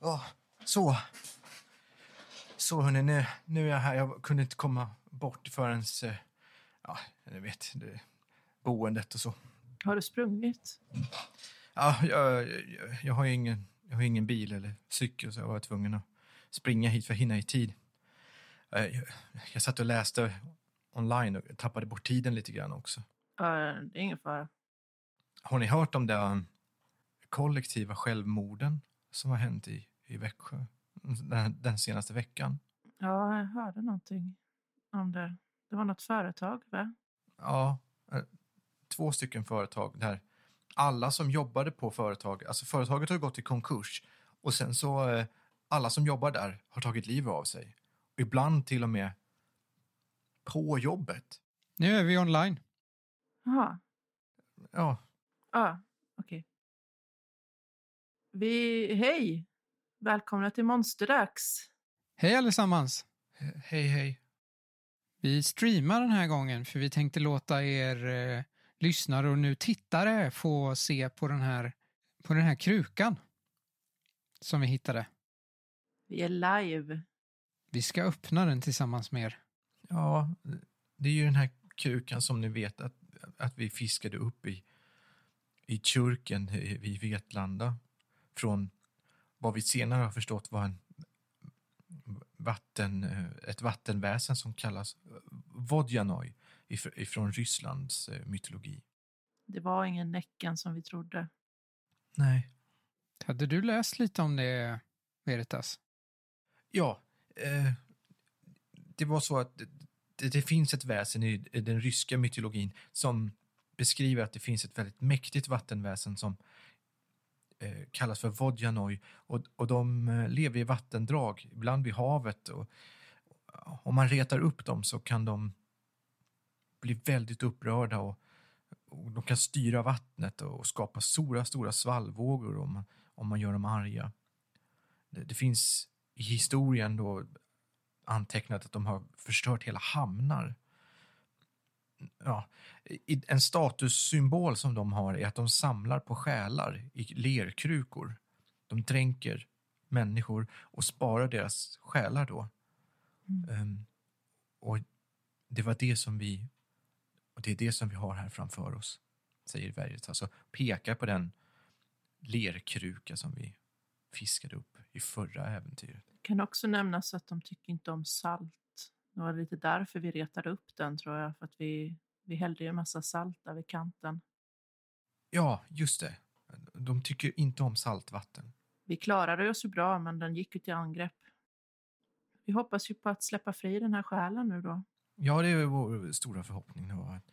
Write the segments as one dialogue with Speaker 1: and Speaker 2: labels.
Speaker 1: Ja, så. Så hörni, nu, nu är jag här. Jag kunde inte komma bort förrän, eh, ja, ni vet, det, boendet och så.
Speaker 2: Har du sprungit?
Speaker 1: Ja, jag, jag, jag, har ju ingen, jag har ju ingen bil eller cykel så jag var tvungen att springa hit för att hinna i tid. Eh, Jag, jag satt och läste online och tappade bort tiden lite grann också.
Speaker 2: Ja, det är ingen fara.
Speaker 1: Har ni hört om det um, kollektiva självmorden som har hänt i, i Växjö den, den senaste veckan?
Speaker 2: Ja, jag hörde någonting om det. Det var något företag, va?
Speaker 1: Ja, eh, två stycken företag där alla som jobbade på företag, alltså företaget har ju gått i konkurs och sen så eh, alla som jobbar där har tagit livet av sig. Och ibland till och med på jobbet.
Speaker 3: Nu är vi online.
Speaker 2: Jaha.
Speaker 1: Ja,
Speaker 2: Ja, okej. Vi... Hej! Välkomna till Monsterdags.
Speaker 3: Hej allesammans!
Speaker 1: he- hej hej.
Speaker 3: Vi streamar den här gången för vi tänkte låta er eh, lyssnare och nu tittare få se på den här, på den här krukan som vi hittade.
Speaker 2: Vi är live.
Speaker 3: Vi ska öppna den tillsammans med er.
Speaker 1: Ja, det är ju den här kukan som ni vet att, att vi fiskade upp i, i kyrken i i Vetlanda. Från vad vi senare har förstått var en vatten, ett vattenväsen som kallas Vodjanoj if- ifrån Rysslands eh, mytologi.
Speaker 2: Det var ingen Näcken som vi trodde.
Speaker 1: Nej.
Speaker 3: Hade du läst lite om det, Veritas?
Speaker 1: Ja, eh, det var så att det, det finns ett väsen i i den ryska mytologin som beskriver att det finns ett väldigt mäktigt vattenväsen som eh, kallas för Vodjanoj och, och de eh, lever i vattendrag, ibland vid havet och om man retar upp dem så kan de bli väldigt upprörda och, och de kan styra vattnet och skapa stora, stora svallvågor om man, om man gör dem arga. Det, det finns i historien då antecknat att de har förstört hela hamnar. Ja, i- en statussymbol som de har är att de samlar på själar i lerkrukor. De dränker människor och sparar deras själar då.
Speaker 2: Mm.
Speaker 1: Ehm, och det var det som vi och det är det som vi har här framför oss, säger Veritas. Alltså pekar på den lerkruka som vi fiskade upp i förra äventyret.
Speaker 2: kan också nämnas att de tycker inte om salt. Det var lite därför vi retade upp den, tror jag. För att vi, vi hällde ju en massa salt där vid kanten.
Speaker 1: Ja, just det. De tycker inte om saltvatten.
Speaker 2: Vi klarade oss ju bra, men den gick ju till angrepp. Vi hoppas ju på att släppa fri den här själen nu då.
Speaker 1: Ja, det är vår stora förhoppning då, att,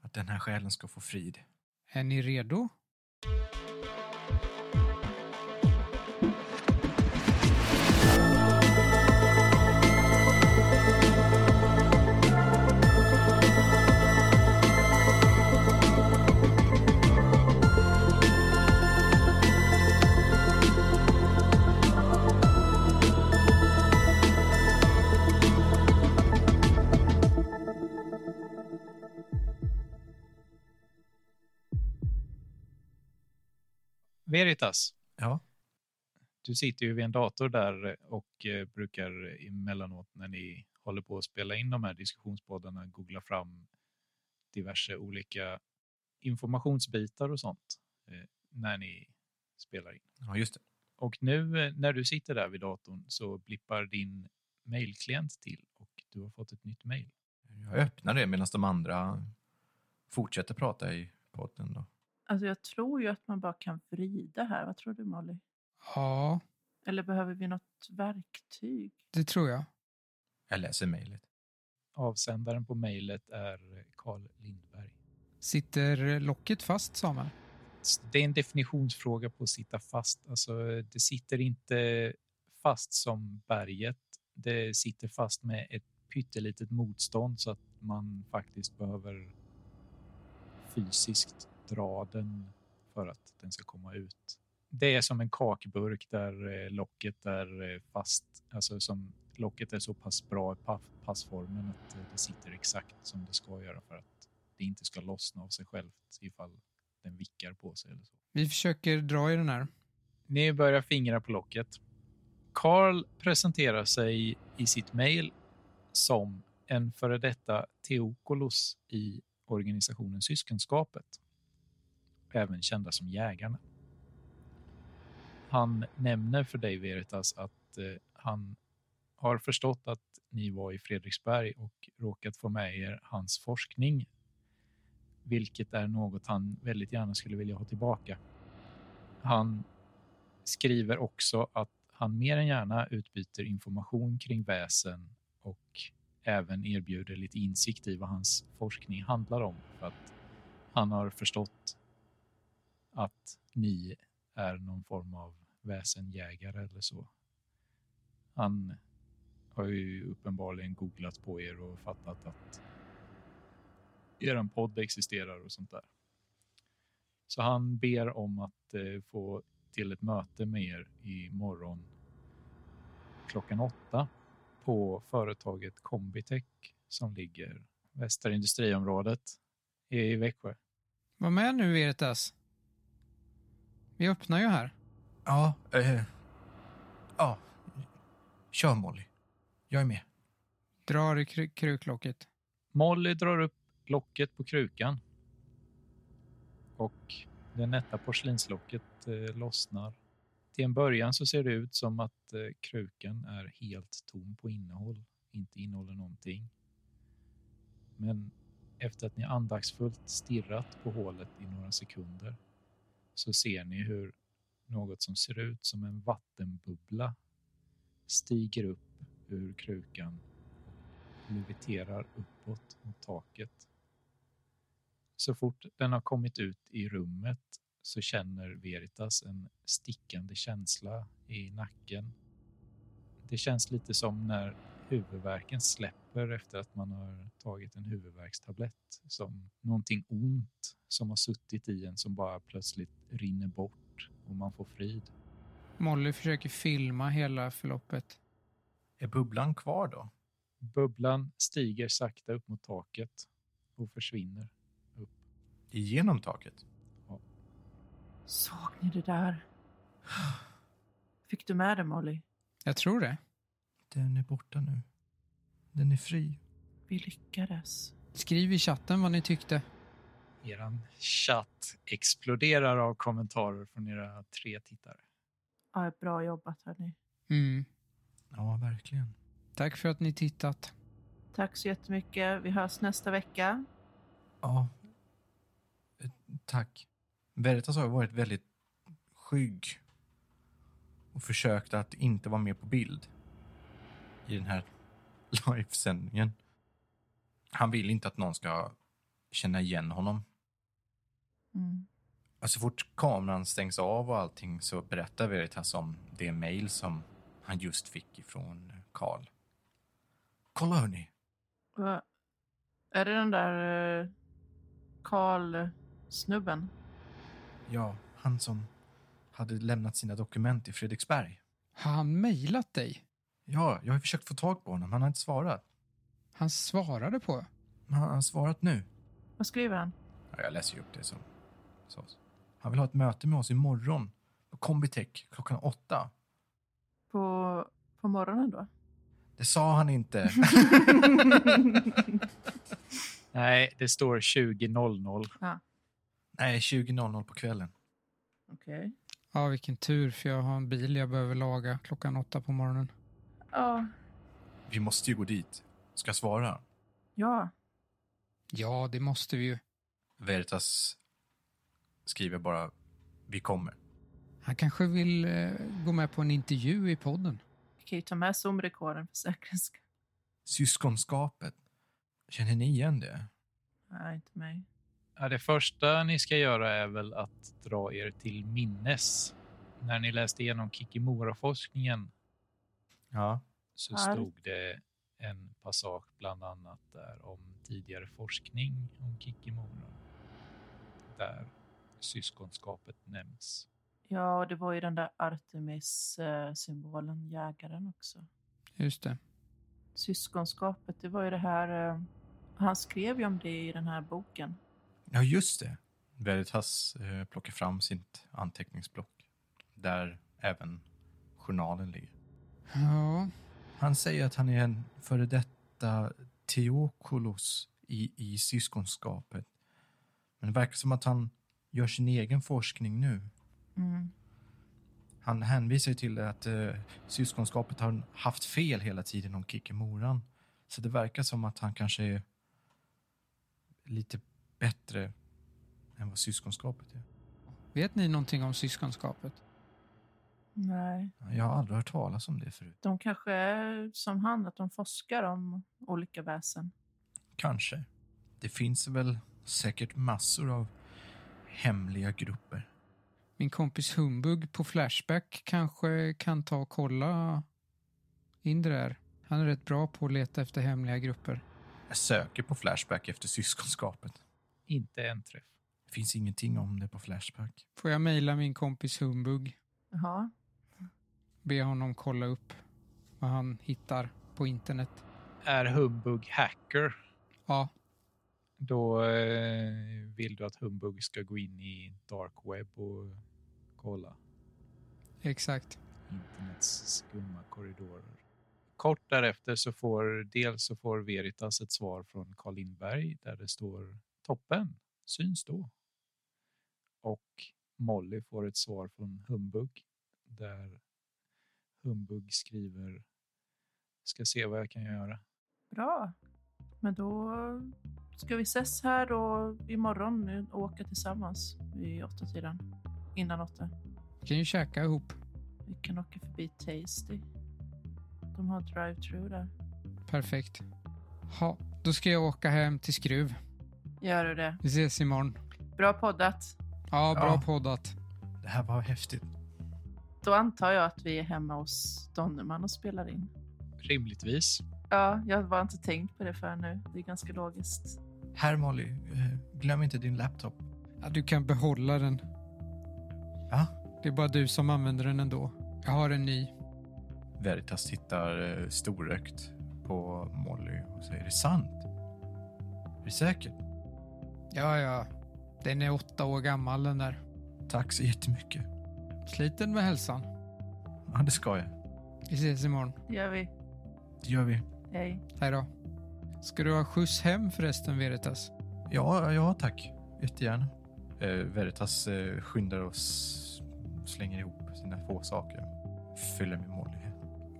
Speaker 1: att den här själen ska få frid.
Speaker 3: Är ni redo?
Speaker 4: Veritas,
Speaker 1: Ja,
Speaker 4: du sitter ju vid en dator där och eh, brukar emellanåt när ni håller på att spela in de här diskussionspoddarna googla fram diverse olika informationsbitar och sånt eh, när ni spelar in.
Speaker 1: ja just det.
Speaker 4: Och nu eh, när du sitter där vid datorn så blippar din mailklient till och du har fått ett nytt mail.
Speaker 1: Jag öppnar det medan de andra fortsätter prata i podden. Då.
Speaker 2: Alltså jag tror ju att man bara kan vrida här. Vad tror du Molly?
Speaker 3: Ja,
Speaker 2: Eller behöver vi något verktyg?
Speaker 3: det tror jag.
Speaker 1: Jag läser mejlet.
Speaker 4: Avsändaren på mejlet är Carl Lindberg.
Speaker 3: Sitter locket fast, Samuel?
Speaker 4: Så Det är en definitionsfråga på att sitta fast. Alltså, det sitter inte fast som berget. Det sitter fast med ett pyttelitet motstånd så att man faktiskt behöver fysiskt dra den för att den ska komma ut. Det är som en kakburk där eh, locket är eh, fast. Alltså som locket är så pass bra i pa- passformen att eh, det sitter exakt som det ska göra för att det inte ska lossna av sig självt ifall den vickar på sig eller så.
Speaker 3: Vi försöker dra i den här.
Speaker 4: Ni börjar fingra på locket. Carl presenterar sig i sitt mejl som en före detta Teokolos i organisationen Syskenskapet, även kända som Jägarna. Han nämner för dig, Veritas, att eh, han har förstått att ni var i Fredriksberg och råkat få med er hans forskning, vilket är något han väldigt gärna skulle vilja ha tillbaka. Han skriver också att han mer än gärna utbyter information kring väsen och även erbjuder lite insikt i vad hans forskning handlar om. För att han har förstått att ni är någon form av väsenjägare eller så. Han har ju uppenbarligen googlat på er och fattat att er podd existerar och sånt där. Så han ber om att eh, få till ett möte med er imorgon klockan åtta på företaget Combitech som ligger Västra industriområdet i Växjö.
Speaker 3: Var med nu, Veritas. Vi öppnar ju här.
Speaker 1: Ja, eh, ja. Kör Molly. Jag är med.
Speaker 3: Drar i kru- kruklocket.
Speaker 4: Molly drar upp locket på krukan och det nätta porslinslocket eh, lossnar. Till en början så ser det ut som att eh, krukan är helt tom på innehåll, inte innehåller någonting. Men efter att ni andaktsfullt stirrat på hålet i några sekunder så ser ni hur något som ser ut som en vattenbubbla stiger upp ur krukan leviterar uppåt mot taket. Så fort den har kommit ut i rummet så känner Veritas en stickande känsla i nacken. Det känns lite som när huvudvärken släpper efter att man har tagit en huvudvärkstablett. Som någonting ont som har suttit i en som bara plötsligt rinner bort och man får frid.
Speaker 3: Molly försöker filma hela förloppet.
Speaker 1: Är bubblan kvar då?
Speaker 4: Bubblan stiger sakta upp mot taket och försvinner.
Speaker 1: Igenom taket?
Speaker 2: Såg ni det där? Fick du med det, Molly?
Speaker 3: Jag tror det.
Speaker 1: Den är borta nu. Den är fri.
Speaker 2: Vi lyckades.
Speaker 3: Skriv i chatten vad ni tyckte.
Speaker 4: Eran chatt exploderar av kommentarer från era tre tittare.
Speaker 2: Ja, bra jobbat, hörni.
Speaker 3: Mm.
Speaker 1: Ja, verkligen.
Speaker 3: Tack för att ni tittat.
Speaker 2: Tack så jättemycket. Vi hörs nästa vecka.
Speaker 1: Ja. Eh, Tack. Veritas har ju varit väldigt skygg och försökt att inte vara med på bild i den här livesändningen. Han vill inte att någon ska känna igen honom.
Speaker 2: Mm.
Speaker 1: Och så fort kameran stängs av och allting så berättar Veritas om det mejl som han just fick ifrån Karl. Kolla hörni,
Speaker 2: Va- Är det den där eh, Karl-snubben?
Speaker 1: ja, han som hade lämnat sina dokument i Fredriksberg.
Speaker 3: Har han mejlat dig?
Speaker 1: Ja, jag har försökt få tag på honom, han har inte svarat.
Speaker 3: Han svarade på.
Speaker 1: Men han har svarat nu.
Speaker 2: Vad skriver han?
Speaker 1: Ja, jag läser ju upp det som sades. Han vill ha ett möte med oss imorgon på Combitech klockan åtta.
Speaker 2: På, på morgonen då?
Speaker 1: Det sa han inte.
Speaker 4: Nej, det står 20.00.
Speaker 1: Nej, 20.00 på kvällen.
Speaker 2: Okej.
Speaker 3: Ja, vilken tur för jag har en bil jag behöver laga klockan åtta på morgonen.
Speaker 2: Ja.
Speaker 1: Vi måste ju gå dit. Ska jag svara?
Speaker 2: Ja.
Speaker 3: Ja, det måste vi ju.
Speaker 1: Veritas skriver bara vi kommer.
Speaker 3: Han kanske vill eh, gå med på en intervju i podden.
Speaker 2: Vi kan ju ta med Zoom-rekorden för säkerhets skull.
Speaker 1: Syskonskapet. Känner ni igen det?
Speaker 2: Nej, inte mig.
Speaker 4: Ja, det första ni ska göra är väl att dra er till minnes. När ni läste igenom Kikimora-forskningen
Speaker 1: Ja.
Speaker 4: så
Speaker 2: Ja, det-
Speaker 4: stod det en passage bland annat där om tidigare forskning om Kikimora. Där syskonskapet nämns.
Speaker 2: Ja, och det var ju den där Artemis-symbolen, jägaren också.
Speaker 3: Just det.
Speaker 2: Syskonskapet, det var ju det här... eh, Han skrev ju om det i den här boken.
Speaker 1: Ja, just det. Veritas eh, plockar fram sitt anteckningsblock där även journalen ligger.
Speaker 3: Ja.
Speaker 1: Han säger att han är en före detta Theokolos i, i syskonskapet. Men det verkar som att han gör sin egen forskning nu.
Speaker 2: Mm.
Speaker 1: Han hänvisar ju till att eh, syskonskapet har haft fel hela tiden om Kikkemoran. Så det verkar som att han kanske är lite bättre än vad syskonskapet är.
Speaker 3: Vet ni någonting om syskonskapet?
Speaker 2: Nej.
Speaker 1: Jag har aldrig hört talas om det förut.
Speaker 2: De kanske är som han, att de forskar om olika väsen.
Speaker 1: Kanske. Det finns väl säkert massor av hemliga grupper.
Speaker 3: Min kompis Humbug på Flashback kanske kan ta och kolla in det där. Han är rätt bra på att leta efter hemliga grupper.
Speaker 1: Jag söker på Flashback efter syskonskapet.
Speaker 4: Inte en träff.
Speaker 1: Det finns ingenting om det på Flashback.
Speaker 3: Får jag mejla min kompis Humbug?
Speaker 2: Jaha.
Speaker 3: Be honom kolla upp vad han hittar på internet.
Speaker 4: Är Humbug hacker?
Speaker 3: Ja,
Speaker 4: Då eh, vill du att Humbug ska gå in i dark web och kolla
Speaker 3: exakt.
Speaker 4: internets skumma korridorer. Kort därefter så får dels så får Veritas ett svar från Carl Lindberg där det står toppen, syns då. Och Molly får ett svar från Humbug där Humbug skriver ska se vad jag kan göra.
Speaker 2: Bra. Men då ska vi ses här och imorgon åka tillsammans vid åtta tiden. Innan åtta.
Speaker 3: Vi kan ju käka ihop.
Speaker 2: Vi kan åka förbi Tasty. De har drive-through där.
Speaker 3: Perfekt. Ha, då ska jag åka hem till Skruv.
Speaker 2: Gör du det?
Speaker 3: Vi ses imorgon.
Speaker 2: Bra poddat.
Speaker 3: Ja, bra
Speaker 1: Ja.
Speaker 3: poddat.
Speaker 1: Det här var häftigt.
Speaker 2: Då antar jag att vi är hemma hos Donnerman och spelar in.
Speaker 4: Rimligtvis.
Speaker 2: Ja, jag har bara inte tänkt på det förrän nu. Det är ganska logiskt.
Speaker 1: Här Molly, eh, glöm inte din laptop.
Speaker 3: Ja, du kan behålla den.
Speaker 1: Ja.
Speaker 3: Det är bara du som använder den ändå. Jag har en ny.
Speaker 1: Veritas tittar eh, storögt på Molly och säger är det sant? Är det säkert?
Speaker 3: Ja, ja. Den är åtta år gammal den där.
Speaker 1: Tack så jättemycket.
Speaker 3: Sliten med hälsan.
Speaker 1: Ja, det ska jag.
Speaker 3: Vi ses imorgon.
Speaker 2: Det gör vi.
Speaker 1: Det gör vi.
Speaker 2: Hej.
Speaker 3: Hej då. Ska du ha skjuts hem förresten, Veritas?
Speaker 1: Ja, ja tack. Jättegärna. Eh, Veritas eh, skyndar och s- slänger ihop sina få saker. Fyller med Molly.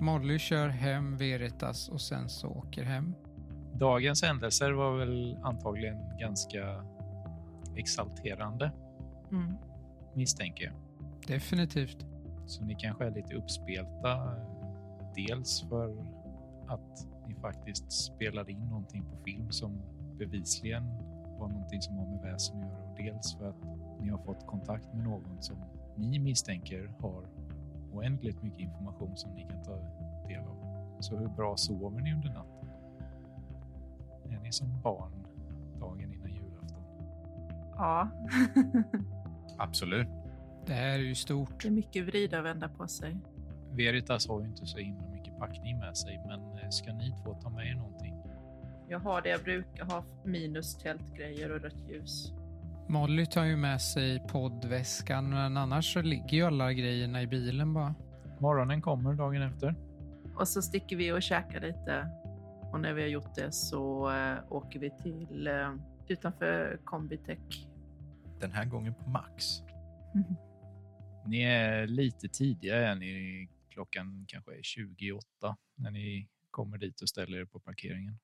Speaker 3: Molly kör hem Veritas och sen så åker hem.
Speaker 4: Dagens händelser var väl antagligen ganska exalterande
Speaker 2: Mm.
Speaker 4: misstänker jag.
Speaker 3: Definitivt.
Speaker 4: Så ni kanske är lite uppspelta. eh, Dels för att ni faktiskt spelade in någonting på film som bevisligen var någonting som har med väsen att göra och dels för att ni har fått kontakt med någon som ni misstänker har oändligt mycket information som ni kan ta del av. Så hur bra sover ni under natten? Är ni som barn dagen innan julafton?
Speaker 2: Ja,
Speaker 1: Absolut.
Speaker 3: Det här är ju stort.
Speaker 2: det är mycket vrida och vända på sig.
Speaker 4: Veritas har ju inte så himla mycket packning med sig, men eh, ska ni två ta med er någonting?
Speaker 2: Jag har det jag brukar ha, minus tältgrejer och rött ljus.
Speaker 3: Molly tar ju med sig poddväskan, men annars så ligger ju alla grejerna i bilen bara.
Speaker 4: Morgonen kommer dagen efter.
Speaker 2: Och så sticker vi och käkar lite. Och när vi har gjort det så eh, åker vi till eh, utanför Combitech.
Speaker 1: Den här gången på Max.
Speaker 4: Ni är lite tidiga, är ni, klockan kanske är 28 när ni kommer dit och ställer er på parkeringen.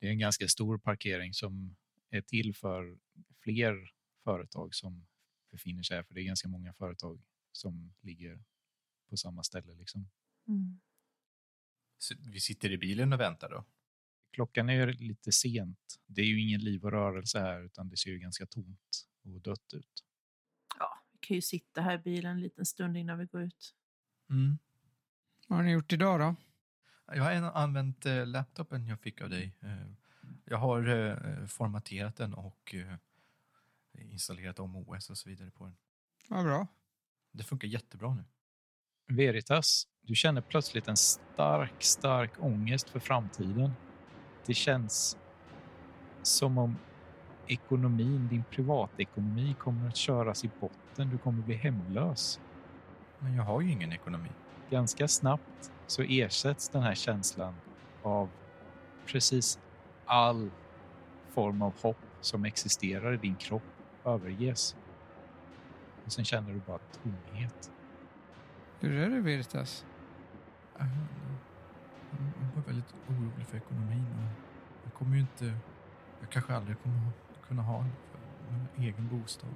Speaker 4: Det är en ganska stor parkering som är till för fler företag som befinner sig här, för det är ganska många företag som ligger på samma ställe. Liksom.
Speaker 1: Så vi sitter i bilen och väntar då.
Speaker 4: Klockan är lite sent. Det är ju ingen liv och rörelse här, utan det ser ju ganska tomt och dött ut.
Speaker 2: Ja, vi kan ju sitta här i bilen en liten stund innan vi går ut.
Speaker 1: Mm.
Speaker 3: Vad har ni gjort idag då?
Speaker 1: Jag har en- använt eh, laptopen jag fick av dig. Eh, Jag har eh, formaterat den och eh, installerat om OS och så vidare på den.
Speaker 3: Vad bra.
Speaker 1: Det funkar jättebra nu.
Speaker 4: Veritas, du känner plötsligt en stark, stark ångest för framtiden. Det känns som om ekonomin, din privatekonomi kommer att köras i botten. Du kommer bli hemlös.
Speaker 1: Men jag har ju ingen ekonomi.
Speaker 4: ganska snabbt så ersätts den här känslan av precis all form av hopp som existerar i din kropp överges. Och sen känner du bara tomhet.
Speaker 3: Hur är det Virtas?
Speaker 1: Äh, Hon hon var väldigt orolig för ekonomin. Och jag kommer ju inte... Jag kanske aldrig kommer ha- kunna ha en, en egen bostad.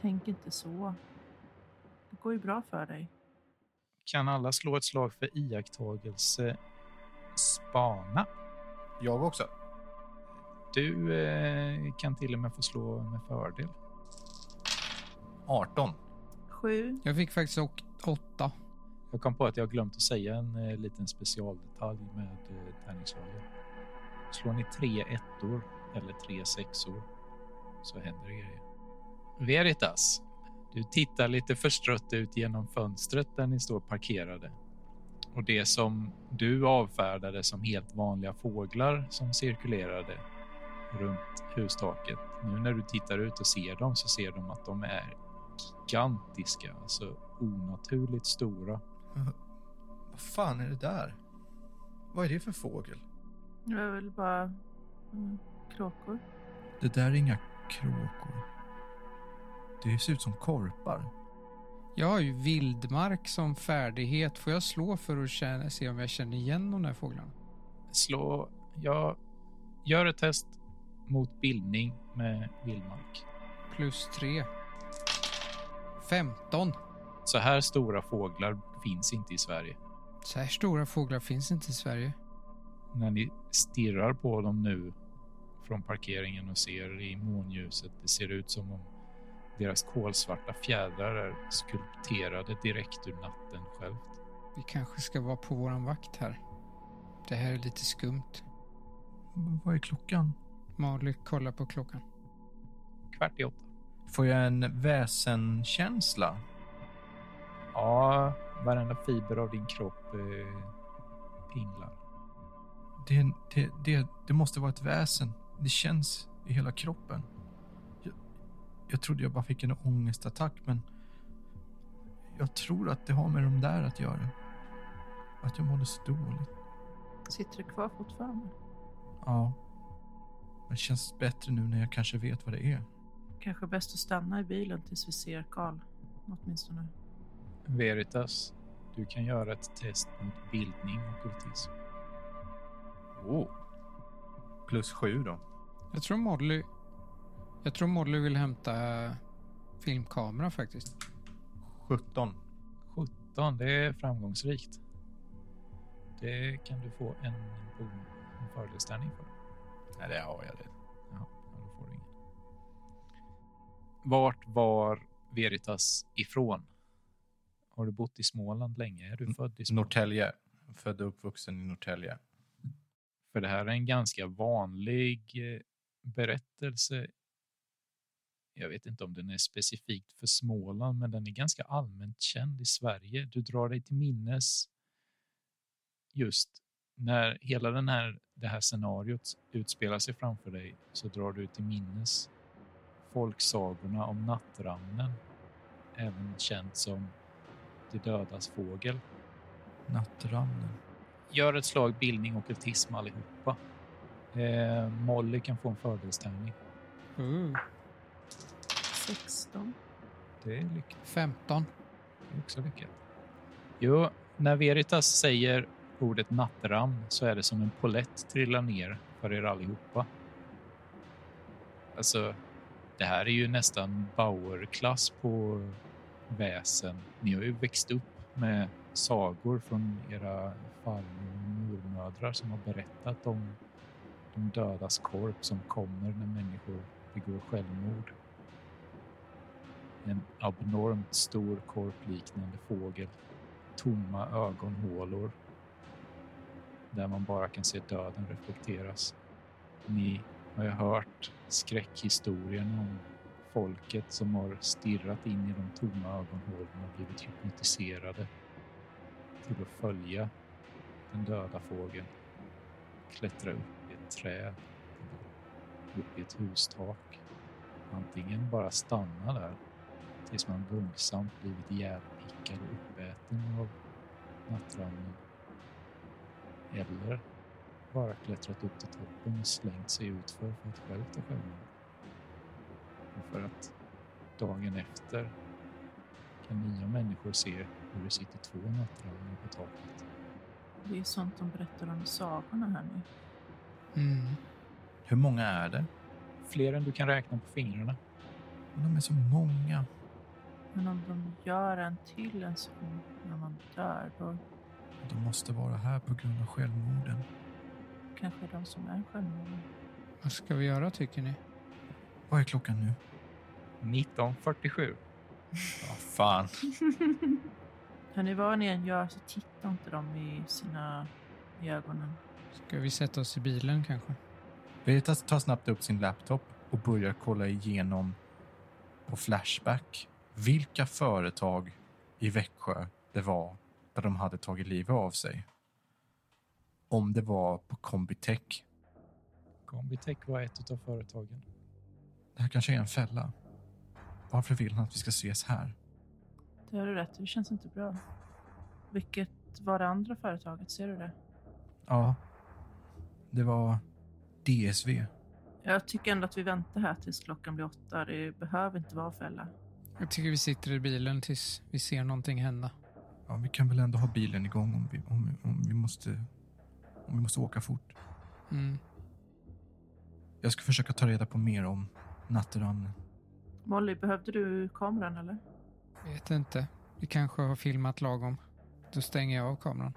Speaker 2: Tänk inte så. Det går ju bra för dig.
Speaker 4: Kan alla slå ett slag för iakttagelse spana?
Speaker 1: Jag också.
Speaker 4: Du eh, kan till och med få slå med fördel.
Speaker 1: 18.
Speaker 2: Sju.
Speaker 3: Jag fick faktiskt åk- åtta.
Speaker 4: Jag kom på att jag glömt att säga en eh, liten specialdetalj med eh, tärningsslagen. Slår ni tre ettor eller tre sexor så händer det grejer. Veritas, du tittar lite förstrött ut genom fönstret där ni står parkerade. Och det som du avfärdade som helt vanliga fåglar som cirkulerade runt hustaket. Nu när du tittar ut och ser dem så ser de att de är gigantiska, alltså onaturligt stora.
Speaker 1: Vad fan är det där? Vad är det för fågel?
Speaker 2: Det var väl bara mm, kråkor.
Speaker 1: Det där är inga kråkor. Det ser ut som korpar.
Speaker 3: Jag har ju vildmark som färdighet. Får jag slå för att känna, se om jag känner igen de där fåglarna?
Speaker 4: slå... Jag gör ett test mot bildning med vildmark.
Speaker 3: Plus tre. Femton.
Speaker 4: Så här stora fåglar finns inte i Sverige.
Speaker 3: Så här stora fåglar finns inte i Sverige.
Speaker 4: När ni stirrar på dem nu från parkeringen och ser i månljuset, det ser ut som om deras kolsvarta fjädrar är skulpterade direkt ur natten själv.
Speaker 3: Vi kanske ska vara på våran vakt här. Det här är lite skumt.
Speaker 1: V- Vad är klockan?
Speaker 3: Marley kollar på klockan.
Speaker 4: Kvart i åtta.
Speaker 1: Får jag en väsenkänsla?
Speaker 4: Ja, varenda fiber av din kropp eh, pinglar.
Speaker 1: Det, är en- det, det, det måste vara ett väsen. Det känns i hela kroppen. Jag, jag trodde jag bara fick en ångestattack, men jag tror att det har med de där att göra. Att jag mådde så dåligt.
Speaker 2: Sitter det kvar fortfarande?
Speaker 1: Ja. Men det känns bättre nu när jag kanske vet vad det är.
Speaker 2: Kanske bäst att stanna i bilen tills vi ser Karl. Åtminstone.
Speaker 4: Veritas, du kan göra ett test mot bildning och kultism.
Speaker 1: Oh. Plus sju då.
Speaker 3: Jag tror Modly... Jag tror Modly vill hämta eh, filmkamera faktiskt.
Speaker 1: 17.
Speaker 4: 17, det är framgångsrikt. Det kan du få en, bon- en föreställning för.
Speaker 1: Nej, det har jag det.
Speaker 4: Jaha, ja, då får du ingen. Vart var Veritas ifrån? Har du bott i Småland länge? Är du
Speaker 1: N-
Speaker 4: född i Småland?
Speaker 1: Norrtälje. Född och uppvuxen i Norrtälje.
Speaker 4: För det här är en ganska vanlig eh, berättelse. Jag vet inte om den är specifikt för Småland, men den är ganska allmänt känd i Sverige. Du drar dig till minnes just när hela den här, det här scenariot utspelar sig framför dig så drar du till minnes folksagorna om nattramnen, även känd som de dödas fågel.
Speaker 1: Nattramnen.
Speaker 4: Gör ett slag bildning och kultism allihopa. Eh, Molly kan få en fördelstärning.
Speaker 3: Uh,
Speaker 2: 16.
Speaker 4: Det är lyckat.
Speaker 3: 15.
Speaker 4: Det är också lyckat. Jo, när Veritas säger ordet nattram så är det som en polett trillar ner för er allihopa. Alltså, det här är ju nästan Bauer-klass på väsen. Ni har ju växt upp med sagor från era farmor och mormödrar som har berättat om de dödas korp som kommer när människor begår självmord. En abnormt stor korpliknande fågel. Tomma ögonhålor. Där man bara kan se döden reflekteras. Ni har ju hört skräckhistorien om folket som har stirrat in i de tomma ögonhålorna och blivit hypnotiserade till att följa den döda fågeln. Klättra upp i ett träd, upp i ett hustak. Antingen bara stanna där tills man våldsamt blivit ihjälpickad och uppäten av nattravnen. Eller bara klättrat upp till toppen och slängt sig ut för för att själv ta självmord. Och för att dagen efter kan nya människor se hur det sitter två nattravnar på taket.
Speaker 2: Det är ju sånt de berättar om i sagorna här nu.
Speaker 3: Mm.
Speaker 1: Hur många är det?
Speaker 4: Fler än du kan räkna på fingrarna.
Speaker 1: De är så många.
Speaker 2: Men om de gör en till en sån när man dör, då
Speaker 1: De måste vara här på grund av självmorden.
Speaker 2: kanske de som är självmord.
Speaker 3: Vad ska vi göra tycker ni?
Speaker 1: Vad är klockan nu?
Speaker 4: 1947.
Speaker 1: Ja, fan.
Speaker 2: Hörni, vad ni än gör så titta inte dem i sina i ögonen.
Speaker 3: Ska vi sätta oss i bilen kanske?
Speaker 1: Birgitta tar snabbt upp sin laptop och börjar kolla igenom på Flashback vilka företag i Växjö det var där de hade tagit livet av sig. Om det var på Combitech.
Speaker 4: Combitech var ett av företagen.
Speaker 1: Det här kanske är en fälla. Varför vill han att vi ska ses här?
Speaker 2: Det har du rätt det känns inte bra. Vilket var det andra företaget? Ser du det?
Speaker 1: Ja, det var DSV.
Speaker 2: Jag tycker ändå att vi väntar här tills klockan blir åtta. Det behöver inte vara fälla.
Speaker 3: Jag tycker vi sitter i bilen tills vi ser någonting hända.
Speaker 1: Ja, vi kan väl ändå ha bilen igång om vi, om, om vi, måste, om vi måste åka fort.
Speaker 3: Mm.
Speaker 1: Jag ska försöka ta reda på mer om nattramnen.
Speaker 2: Molly, behövde du kameran eller?
Speaker 3: Vet inte. Vi kanske har filmat lagom. Då stänger jag av kameran.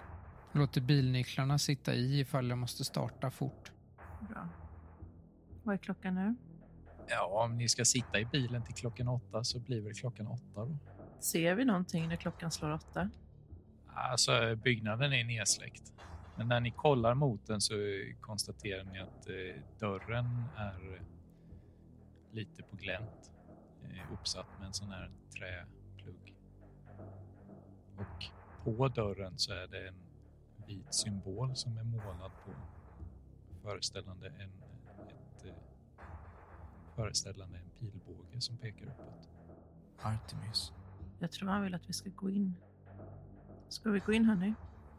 Speaker 3: Låter bilnycklarna sitta i ifall jag måste starta fort.
Speaker 2: Bra. Vad är klockan nu?
Speaker 4: Ja, om ni ska sitta i bilen till klockan åtta så blir väl klockan åtta då.
Speaker 2: Ser vi någonting när klockan slår åtta?
Speaker 4: Alltså, byggnaden är nedsläckt. Men när ni kollar mot den så konstaterar ni att eh, dörren är eh, lite på glänt. Eh, uppsatt med en sån här träplugg. Och på dörren så är det en vit symbol som är målad på föreställande en, ett, eh, föreställande en pilbåge som pekar uppåt.
Speaker 1: Artemis.
Speaker 2: Jag tror han vill att vi ska gå in. Ska vi gå in hörni?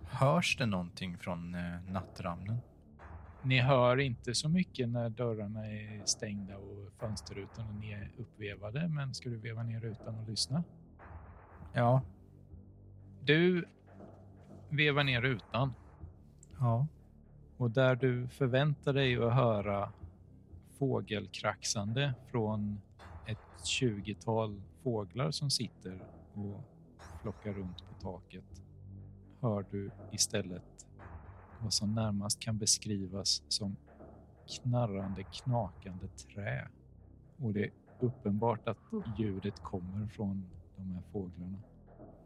Speaker 1: Hörs det någonting från eh, nattramnen?
Speaker 4: Ni hör inte så mycket när dörrarna är stängda och fönsterrutorna är uppvevade, men ska du veva ner rutan och lyssna?
Speaker 1: Ja.
Speaker 4: Du vevar ner rutan
Speaker 1: Ja.
Speaker 4: och där du förväntar dig att höra fågelkraxande från ett tjugotal fåglar som sitter och flockar runt på taket hör du istället vad som närmast kan beskrivas som knarrande, knakande trä. Och det är uppenbart att ljudet kommer från de här fåglarna.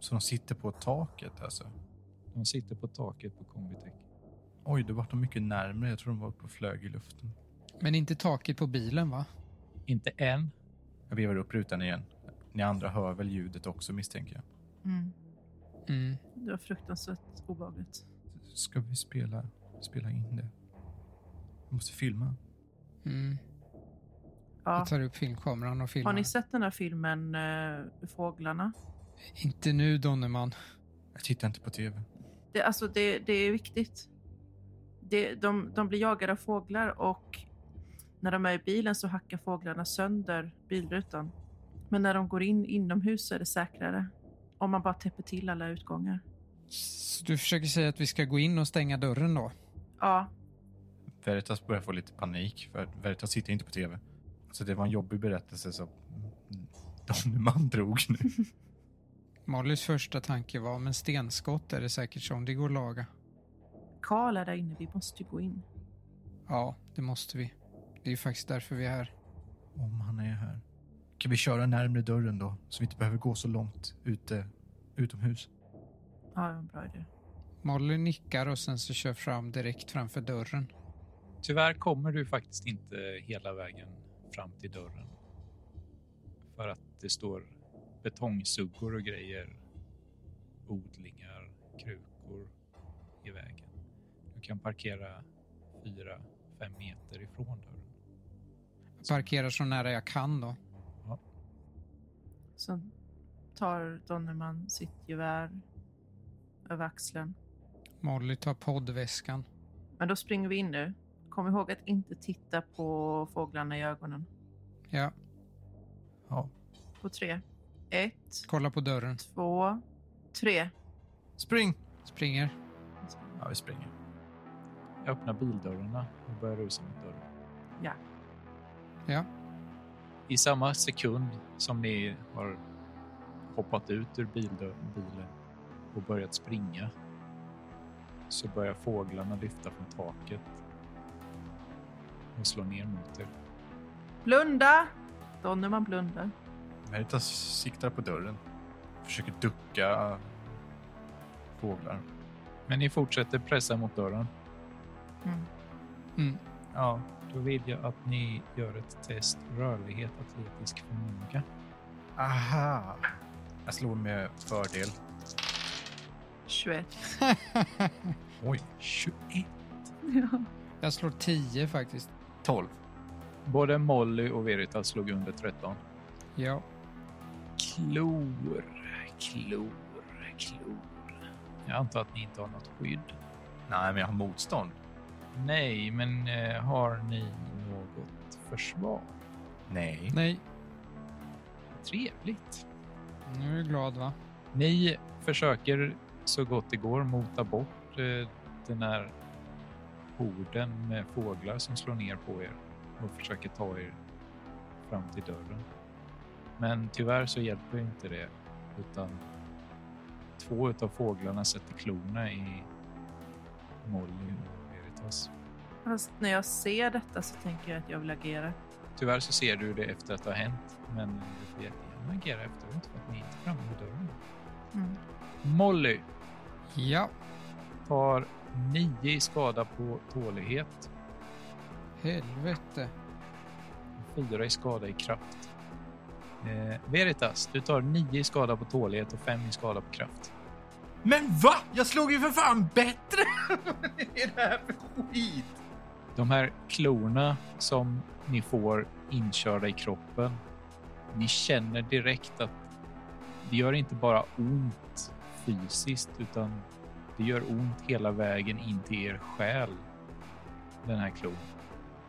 Speaker 1: Så de sitter på taket alltså?
Speaker 4: De sitter på taket på Combitech.
Speaker 1: Oj, då vart de mycket närmare. Jag tror de var uppe och flög i luften.
Speaker 3: Men inte taket på bilen va?
Speaker 4: Inte än,
Speaker 1: Jag vevar upp rutan igen. Ni andra hör väl ljudet också misstänker jag.
Speaker 2: Mm.
Speaker 3: Mm.
Speaker 2: Det var fruktansvärt obehagligt.
Speaker 1: Ska vi spela, spela in det? Vi måste filma.
Speaker 3: Mm.
Speaker 2: Ja.
Speaker 3: Jag tar upp filmkameran och filmar.
Speaker 2: Har ni sett den här filmen eh, Fåglarna?
Speaker 3: Inte nu Donnerman.
Speaker 1: Jag tittar inte på tv.
Speaker 2: Det, alltså det, det är viktigt. Det, de, de blir jagade av fåglar och när de är i bilen så hackar fåglarna sönder bilrutan. Men när de går in inomhus så är det säkrare. Om man bara täpper till alla utgångar.
Speaker 3: Så du försöker säga att vi ska gå in och stänga dörren då?
Speaker 2: Ja,
Speaker 1: Veritas börjar få lite panik för Veritas sitter inte på tv. Så det var en jobbig berättelse som Don man drog nu.
Speaker 3: Mollys första tanke var, men stenskott är det säkert som, det går att laga.
Speaker 2: Karl är där inne. Vi måste ju gå in.
Speaker 3: Ja, det måste vi. Det är ju faktiskt därför vi är här.
Speaker 1: Om han är här. Kan vi köra närmre dörren då? Så vi inte behöver gå så långt ute, utomhus.
Speaker 2: Ja, det var en bra idé.
Speaker 3: Molly nickar och sen så kör fram direkt framför dörren.
Speaker 4: Tyvärr kommer du faktiskt inte hela vägen fram till dörren. För att det står betongsuggor och grejer, odlingar, krukor i vägen. Du kan parkera fyra, fem meter ifrån dörren.
Speaker 3: Parkerar så nära jag kan då.
Speaker 2: Så tar Donnerman sitt gevär över axeln.
Speaker 3: Molly tar poddväskan.
Speaker 2: Men då springer vi in nu. Kom ihåg att inte titta på fåglarna i ögonen.
Speaker 3: Ja,
Speaker 1: Ja.
Speaker 2: På tre. Ett,
Speaker 3: kolla på dörren.
Speaker 2: två, tre.
Speaker 1: Spring!
Speaker 3: Springer.
Speaker 1: Ja, vi springer.
Speaker 4: Jag öppnar bildörrarna och börjar rusa mot dörren.
Speaker 3: Ja,
Speaker 4: I samma sekund som ni har hoppat ut ur bildö- bilen och börjat springa så börjar fåglarna lyfta från taket och slå ner mot er.
Speaker 2: Blunda! Donnerman blundar.
Speaker 1: Meritas siktar på dörren. Försöker ducka fåglar.
Speaker 4: Men ni fortsätter pressa mot dörren.
Speaker 2: Mm.
Speaker 3: mm.
Speaker 4: Ja, då vill jag att ni gör ett test rörlighet, atletisk förmåga.
Speaker 1: Aha! Jag slår med fördel.
Speaker 2: 21.
Speaker 1: Oj.
Speaker 4: 21.
Speaker 2: Ja.
Speaker 3: jag slår 10 faktiskt.
Speaker 1: 12.
Speaker 4: Både Molly och Veritas slog under 13.
Speaker 3: Ja,
Speaker 4: Klor, klor, klor. Jag antar att ni inte har något skydd.
Speaker 1: Nej, men jag har motstånd.
Speaker 4: Nej, men eh, har ni något försvar?
Speaker 1: Nej.
Speaker 3: nej.
Speaker 4: Trevligt.
Speaker 3: Nu är du glad va?
Speaker 4: Ni försöker så gott det går mota bort eh, den här horden med fåglar som slår ner på er och försöker ta er fram till dörren. Men tyvärr så hjälper inte det utan två utav fåglarna sätter klorna i Molly och Veritas.
Speaker 2: Fast när jag ser detta så tänker jag att jag vill agera.
Speaker 4: Tyvärr så ser du det efter att det har hänt, men du får jättegärna agera efteråt för att ni är inte framme vid dörren.
Speaker 2: Mm.
Speaker 4: Molly
Speaker 3: Ja,
Speaker 4: tar 9 i skada på tålighet
Speaker 3: helvete.
Speaker 4: och 4 i skada i kraft. Eh, Veritas, du tar 9 i skada på tålighet och 5 i skada på kraft.
Speaker 1: Men va? Jag slog ju för fan bättre! Vad är det här för skit?
Speaker 4: De här klorna som ni får inkörda i kroppen, ni känner direkt att det gör inte bara ont fysiskt, utan det gör ont hela vägen in till er själ, den här klon.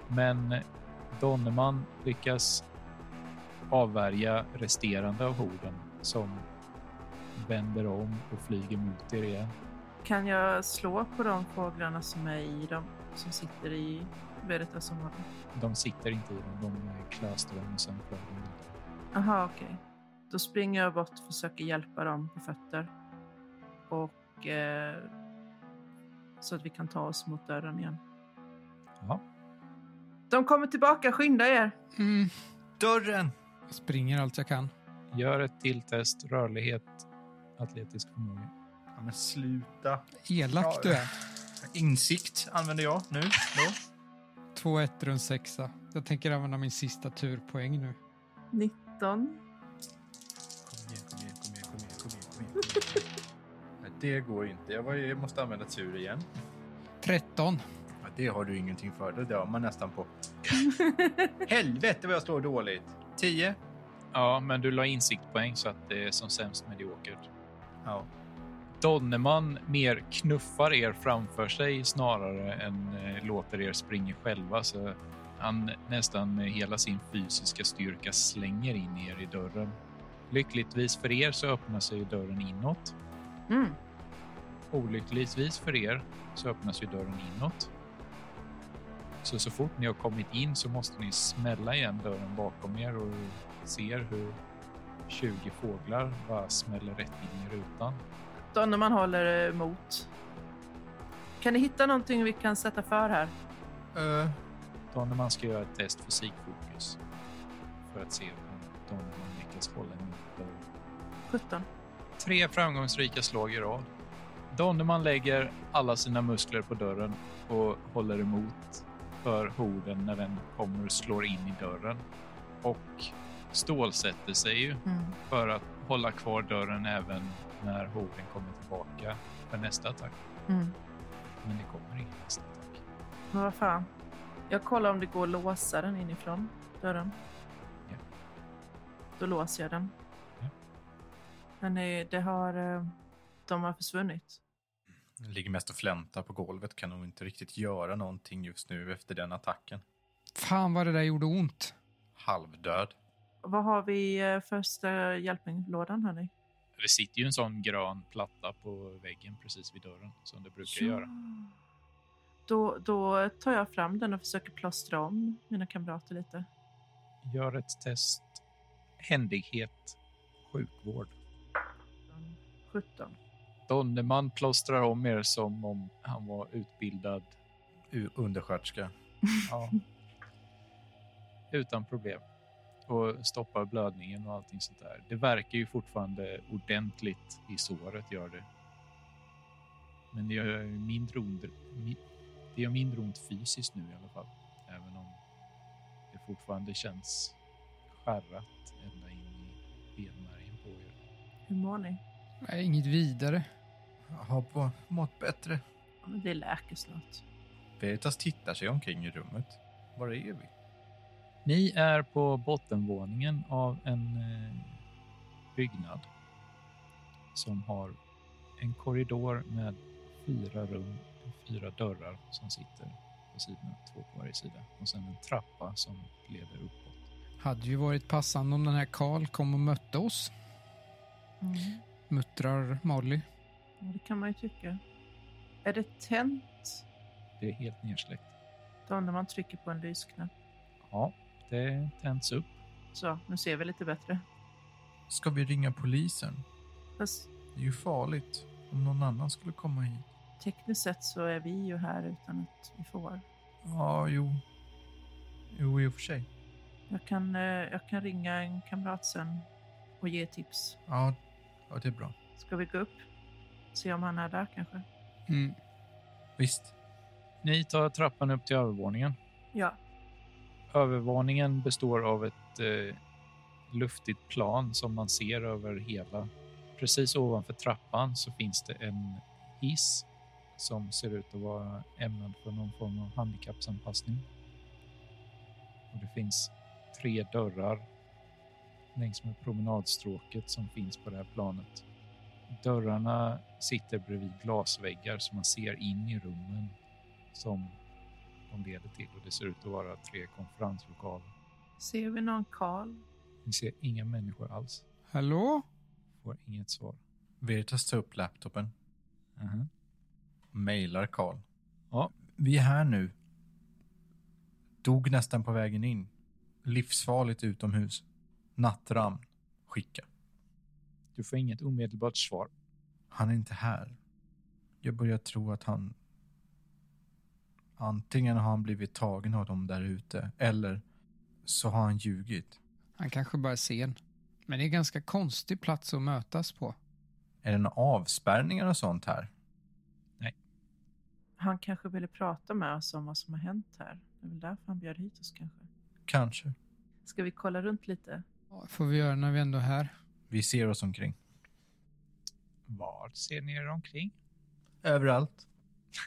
Speaker 4: Men Donnerman lyckas avvärja resterande av horden som vänder om och flyger mot er igen.
Speaker 2: Kan jag slå på de fåglarna som är i dem, som sitter i Veritasområdet?
Speaker 4: De sitter inte i dem, de klöste dem och sen flög de vidare.
Speaker 2: Aha, okej. Då springer jag bort och försöker hjälpa dem på fötter. Och... Eh, så att vi kan ta oss mot dörren igen.
Speaker 4: Ja.
Speaker 2: De kommer tillbaka, skynda er!
Speaker 3: Mm.
Speaker 1: Dörren!
Speaker 3: Jag springer allt jag kan.
Speaker 4: Gör ett till test, rörlighet, atletisk förmåga.
Speaker 1: Ja, men sluta.
Speaker 3: Elak du är.
Speaker 1: Insikt använder jag nu. Då.
Speaker 3: 2-1 runt sexa. Jag tänker använda min sista turpoäng nu.
Speaker 2: 19.
Speaker 1: Kom igen, kom igen, kom igen, kom igen, kom igen, kom igen. Kom igen. Nej, det går inte. Jag, var, jag måste använda tur igen.
Speaker 3: 13.
Speaker 1: Ja, det har du ingenting för. Det dör man nästan på. Helvete vad jag slår dåligt. 10?
Speaker 4: Ja, men du la insiktpoäng så att det är som sämst mediokert.
Speaker 1: Ja.
Speaker 4: Donnerman mer knuffar er framför sig snarare än eh, låter er springa själva. Så han nästan med hela sin fysiska styrka slänger in er i dörren. Lyckligtvis för er så öppnar sig ju dörren inåt.
Speaker 2: Mm.
Speaker 4: Olyckligtvis för er så öppnas ju dörren inåt. Så så fort ni har kommit in så måste ni smälla igen dörren bakom er och ser hur 20 fåglar bara smäller rätt in i rutan.
Speaker 2: Donnerman håller emot. Kan ni hitta någonting vi kan sätta för här?
Speaker 1: Eh,
Speaker 4: Donnerman ska göra ett test fysikfokus för att se om Donnerman lyckas hålla emot dörren.
Speaker 2: 17.
Speaker 4: Tre framgångsrika slag i rad. Donnerman lägger alla sina muskler på dörren och håller emot för horden när den kommer och slår in i dörren. Och stålsätter sig ju
Speaker 2: Mm.
Speaker 4: för att hålla kvar dörren även när horden kommer tillbaka för nästa attack.
Speaker 2: Mm.
Speaker 4: Men det kommer ingen nästa attack.
Speaker 2: Men vad fan. Jag kollar om det går att låsa den inifrån dörren.
Speaker 4: Ja.
Speaker 2: Då låser jag den.
Speaker 4: Ja.
Speaker 2: Men det, det har, eh, de har försvunnit.
Speaker 1: Ligger mest och fläntar på golvet, kan nog inte riktigt göra någonting just nu efter den attacken.
Speaker 3: Fan vad det där gjorde ont.
Speaker 1: Halvdöd.
Speaker 2: Vad har vi eh, första hjälplådan hörni?
Speaker 4: Det sitter ju en sån grön platta på väggen precis vid dörren som det brukar göra.
Speaker 2: Då, då tar jag fram den och försöker plåstra om mina kamrater lite.
Speaker 4: Gör ett test. Händighet. Sjukvård.
Speaker 2: 17.
Speaker 4: Donnerman plåstrar om er som om han var utbildad
Speaker 1: U- Undersköterska.
Speaker 4: Ja. Utan problem. Och stoppar blödningen och allting sånt där. Det verkar ju fortfarande ordentligt i såret, gör det. Men det gör ju mindre ont, mi- det gör mindre ont fysiskt nu i alla fall. Även om det fortfarande känns skärrat ända in i benmärgen på er.
Speaker 2: Hur mår ni?
Speaker 3: Nej, inget vidare.
Speaker 1: Jag Har på, mått bättre.
Speaker 2: Ja, men Det läker snart.
Speaker 1: Veritas tittar sig omkring i rummet. Var är vi?
Speaker 4: Ni är på bottenvåningen av en eh, byggnad som har en korridor med fyra rum, fyra dörrar som sitter på sidorna, två på varje sida och sen en trappa som leder uppåt.
Speaker 3: Hade ju varit passande om den här Karl kom och mötte oss.
Speaker 2: Mm.
Speaker 3: Muttrar Molly.
Speaker 2: Ja, Det kan man ju tycka. Är det tänt?
Speaker 4: Det är helt nersläckt.
Speaker 2: Då när man trycker på en lysknapp.
Speaker 4: Ja, det tänds upp.
Speaker 2: Så, nu ser vi lite bättre.
Speaker 1: Ska vi ringa polisen?
Speaker 2: Fast
Speaker 1: Det är ju farligt om någon annan skulle komma hit.
Speaker 2: tekniskt sett så är vi ju här utan att vi får.
Speaker 1: Ja, jo. Jo, i och för sig.
Speaker 2: Jag kan, eh, jag kan ringa en kamrat sen och ge tips.
Speaker 1: Ja, ja det är bra.
Speaker 2: Ska vi gå upp? Se om han är där kanske?
Speaker 3: Mm.
Speaker 1: Visst.
Speaker 4: Ni tar trappan upp till övervåningen.
Speaker 2: Ja.
Speaker 4: Övervåningen består av ett eh, luftigt plan som man ser över hela. Precis ovanför trappan så finns det en hiss som ser ut att vara ämnad för någon form av handikappsanpassning. Och det finns tre dörrar längs med promenadstråket som finns på det här planet. Dörrarna sitter bredvid glasväggar så man ser in i rummen som de leder till och det ser ut att vara tre konferenslokaler.
Speaker 2: Ser vi någon Karl?
Speaker 4: Ni ser inga människor alls.
Speaker 3: Hallå?
Speaker 4: Får inget svar.
Speaker 1: Veritas tar upp laptopen och mejlar Karl.
Speaker 4: Ja.
Speaker 1: Vi är här nu. Dog nästan på vägen in. Livsfarligt utomhus. Nattramn. Skicka.
Speaker 4: Du får inget omedelbart svar.
Speaker 1: Han är inte här. Jag börjar tro att han... Antingen har han blivit tagen av dem där ute eller så har han ljugit.
Speaker 3: Han kanske bara är sen. Men det är en ganska konstig plats att mötas på.
Speaker 1: Är det några avspärrningar och sånt här?
Speaker 2: Han kanske ville prata med oss om vad som har hänt här. Det är väl därför han bjöd hit oss kanske.
Speaker 1: Kanske.
Speaker 2: Ska vi kolla runt lite?
Speaker 3: Ja, får vi göra när vi ändå är här.
Speaker 1: Vi ser oss omkring.
Speaker 4: Vad ser ni er omkring?
Speaker 1: Överallt.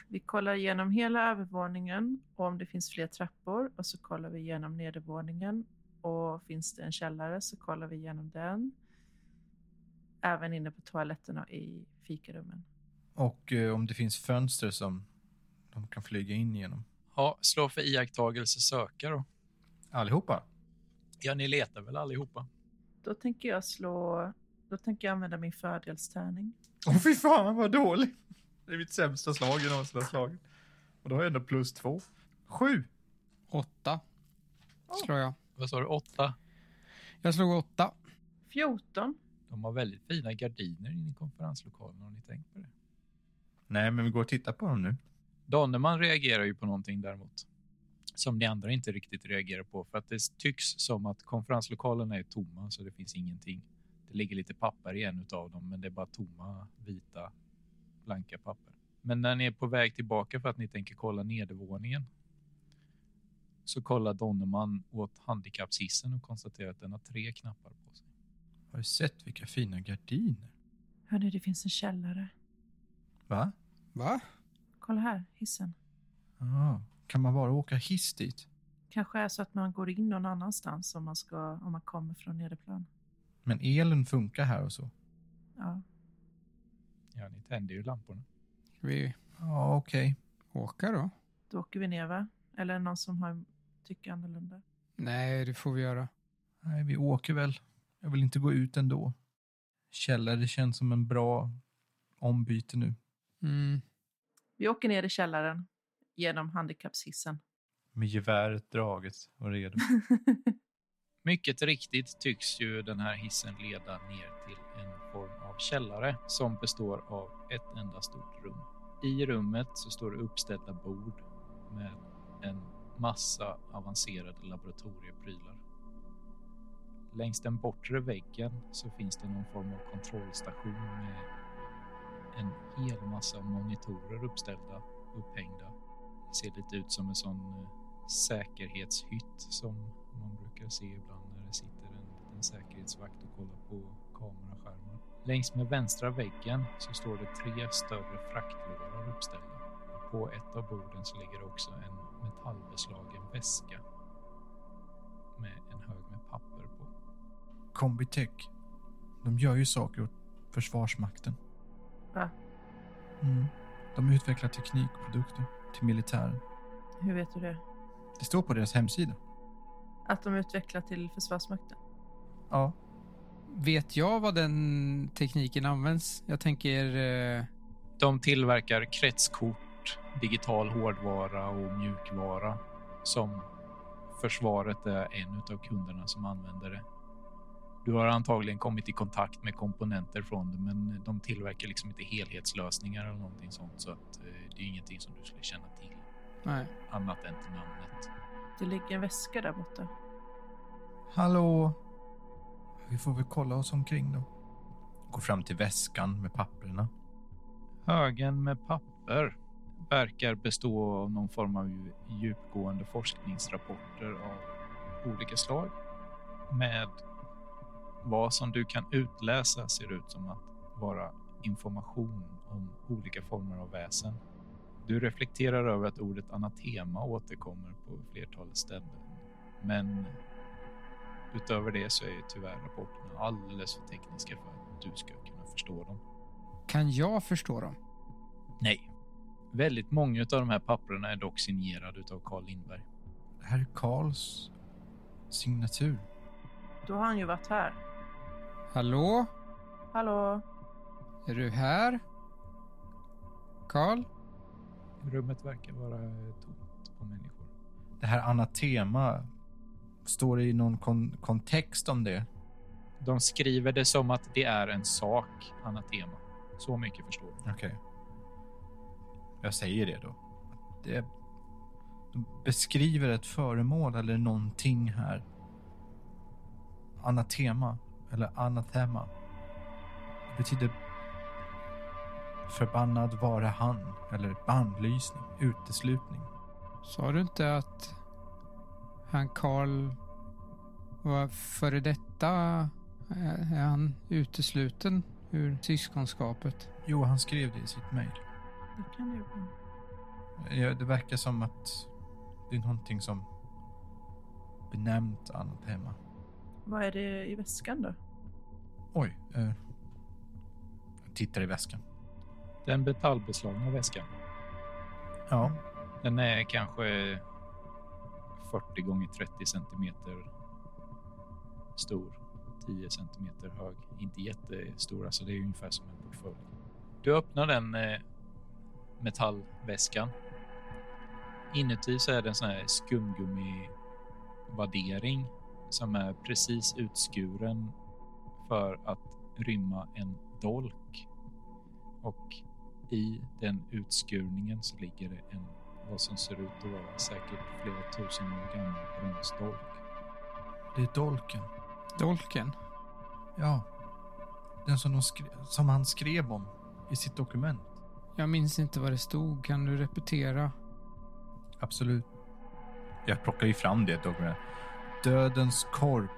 Speaker 2: Vi kollar igenom hela övervåningen och om det finns fler trappor och så kollar vi igenom nedervåningen och finns det en källare så kollar vi igenom den. Även inne på toaletten och i fikarummen.
Speaker 1: Och eh, om det finns fönster som de kan flyga in genom.
Speaker 4: Ja, slå för iakttagelse söka då.
Speaker 1: Allihopa?
Speaker 4: Ja, ni letar väl allihopa?
Speaker 2: Då tänker jag slå... Då tänker jag använda min fördelstärning.
Speaker 1: Åh fy fan vad dålig! Det är mitt sämsta slag jag någonsin har slagit. Och då har jag ändå plus två. Sju!
Speaker 3: Åtta. Slår jag.
Speaker 4: Vad sa du? Åtta?
Speaker 3: Jag slog åtta.
Speaker 2: 14.
Speaker 4: De har väldigt fina gardiner inne i konferenslokalen. Har ni tänkt på det?
Speaker 1: Nej, men vi går och tittar på dem nu.
Speaker 4: Donnerman reagerar ju på någonting däremot. Som ni andra inte riktigt reagerar på. För att det tycks som att konferenslokalerna är tomma så det finns ingenting. Det ligger lite papper i en utav dem men det är bara tomma vita blanka papper. Men när ni är på väg tillbaka för att ni tänker kolla nedervåningen. Så kollar Donnerman åt handikappshissen och konstaterar att den har tre knappar på sig.
Speaker 1: Har du sett vilka fina gardiner?
Speaker 2: Hörni, det finns en källare.
Speaker 1: Va?
Speaker 3: Va?
Speaker 2: Kolla här, hissen.
Speaker 1: Ja. Kan man bara åka hiss dit?
Speaker 2: Kanske är så att man går in någon annanstans om man, ska, om man kommer från nederplan.
Speaker 1: Men elen funkar här och så.
Speaker 2: Ja.
Speaker 4: Ja, ni tände ju lamporna.
Speaker 3: Ska vi
Speaker 1: Ja, okej.
Speaker 3: åka då?
Speaker 2: Då åker vi ner va? Eller är det någon som har, tycker annorlunda?
Speaker 3: Nej, det får vi göra.
Speaker 1: Nej, vi åker väl. Jag vill inte gå ut ändå. Källare känns som en bra ombyte nu.
Speaker 3: Mm.
Speaker 2: Vi åker ner i källaren genom handikappshissen.
Speaker 1: Med geväret draget och redo.
Speaker 4: Mycket riktigt tycks ju den här hissen leda ner till en form av källare som består av ett enda stort rum. I rummet så står det uppställda bord med en massa avancerade laboratorieprylar. Längs den bortre väggen så finns det någon form av kontrollstation med en hel massa monitorer uppställda, upphängda. Det ser lite ut som en sån eh, säkerhetshytt som man brukar se ibland när det sitter en liten säkerhetsvakt och kollar på kameraskärmar. Längs med vänstra väggen så står det tre större fraktlådor uppställda. På ett av borden så ligger det också en metallbeslagen väska med en hög med papper på.
Speaker 1: Combitech. De gör ju saker åt Försvarsmakten.
Speaker 2: Va?
Speaker 1: Mm. De utvecklar teknik och produkter till militären.
Speaker 2: Hur vet du det?
Speaker 1: Det står på deras hemsida.
Speaker 2: Att de utvecklar till Försvarsmakten?
Speaker 1: Ja.
Speaker 3: Vet jag vad den tekniken används? Jag tänker... Eh,
Speaker 4: De tillverkar kretskort, digital hårdvara och mjukvara som försvaret är en av kunderna som använder det. Du har antagligen kommit i kontakt med komponenter från det, men de tillverkar liksom inte helhetslösningar eller någonting sånt, så att eh, det är ingenting som du skulle känna till
Speaker 3: nej.
Speaker 4: annat än till namnet.
Speaker 2: Det ligger en väska där borta.
Speaker 1: Hallå? Vi får väl kolla oss omkring då. Går fram till väskan med papperna.
Speaker 4: Högen med papper verkar bestå av någon form av dju- djupgående forskningsrapporter av olika slag. Med vad som du kan utläsa ser ut som att vara information om olika former av väsen. Du reflekterar över att ordet anatema återkommer på flertalet ställen. Men utöver det så är ju tyvärr rapporterna alldeles för tekniska för att du ska kunna förstå dem.
Speaker 3: Kan jag förstå dem?
Speaker 4: Nej. Väldigt många av de här papperna är dock signerade av Carl Lindberg.
Speaker 1: Det här är Karls signatur.
Speaker 2: Då har han ju varit här.
Speaker 3: Hallå?
Speaker 2: Hallå?
Speaker 3: Är du här? Karl?
Speaker 4: Rummet verkar vara eh, tomt på människor.
Speaker 1: Det här anatema. Står det i någon kon- kontext om det?
Speaker 4: De skriver det som att det är en sak, anatema. Så mycket förstår du.
Speaker 1: Okej. Jag säger det då. Det de beskriver ett föremål eller någonting här. Anatema eller anatema. Det betyder förbannad vare han eller bannlysning, uteslutning.
Speaker 3: Sa du inte att han Karl var före detta? eh, Är han utesluten ur syskonskapet?
Speaker 1: Jo, han skrev det i sitt mejl.
Speaker 2: Det kan det ju vara.
Speaker 1: Ja, Det verkar som att det är någonting som benämnt anatema.
Speaker 2: Vad är det i väskan då?
Speaker 1: Oj. Eh, jag tittar i väskan.
Speaker 4: Den metallbeslagna väskan,
Speaker 1: Ja.
Speaker 4: den är kanske 40 gånger 30 centimeter stor. 10 centimeter hög. Inte jättestor, alltså det är ungefär som en portfölj. Du öppnar den eh, metallväskan. Inuti så är det en sån här skumgummivaddering som är precis utskuren för att rymma en dolk. Och i den utskurningen så ligger det en, vad som ser ut att vara säkert flera tusen år gammal bronsdolk.
Speaker 1: Det är dolken.
Speaker 3: Dolken?
Speaker 1: Ja. Den som, de skre- som han skrev om i sitt dokument.
Speaker 3: Jag minns inte vad det stod. Kan du repetera?
Speaker 1: Absolut. Jag plockar ju fram det dokumentet. Dödens korp.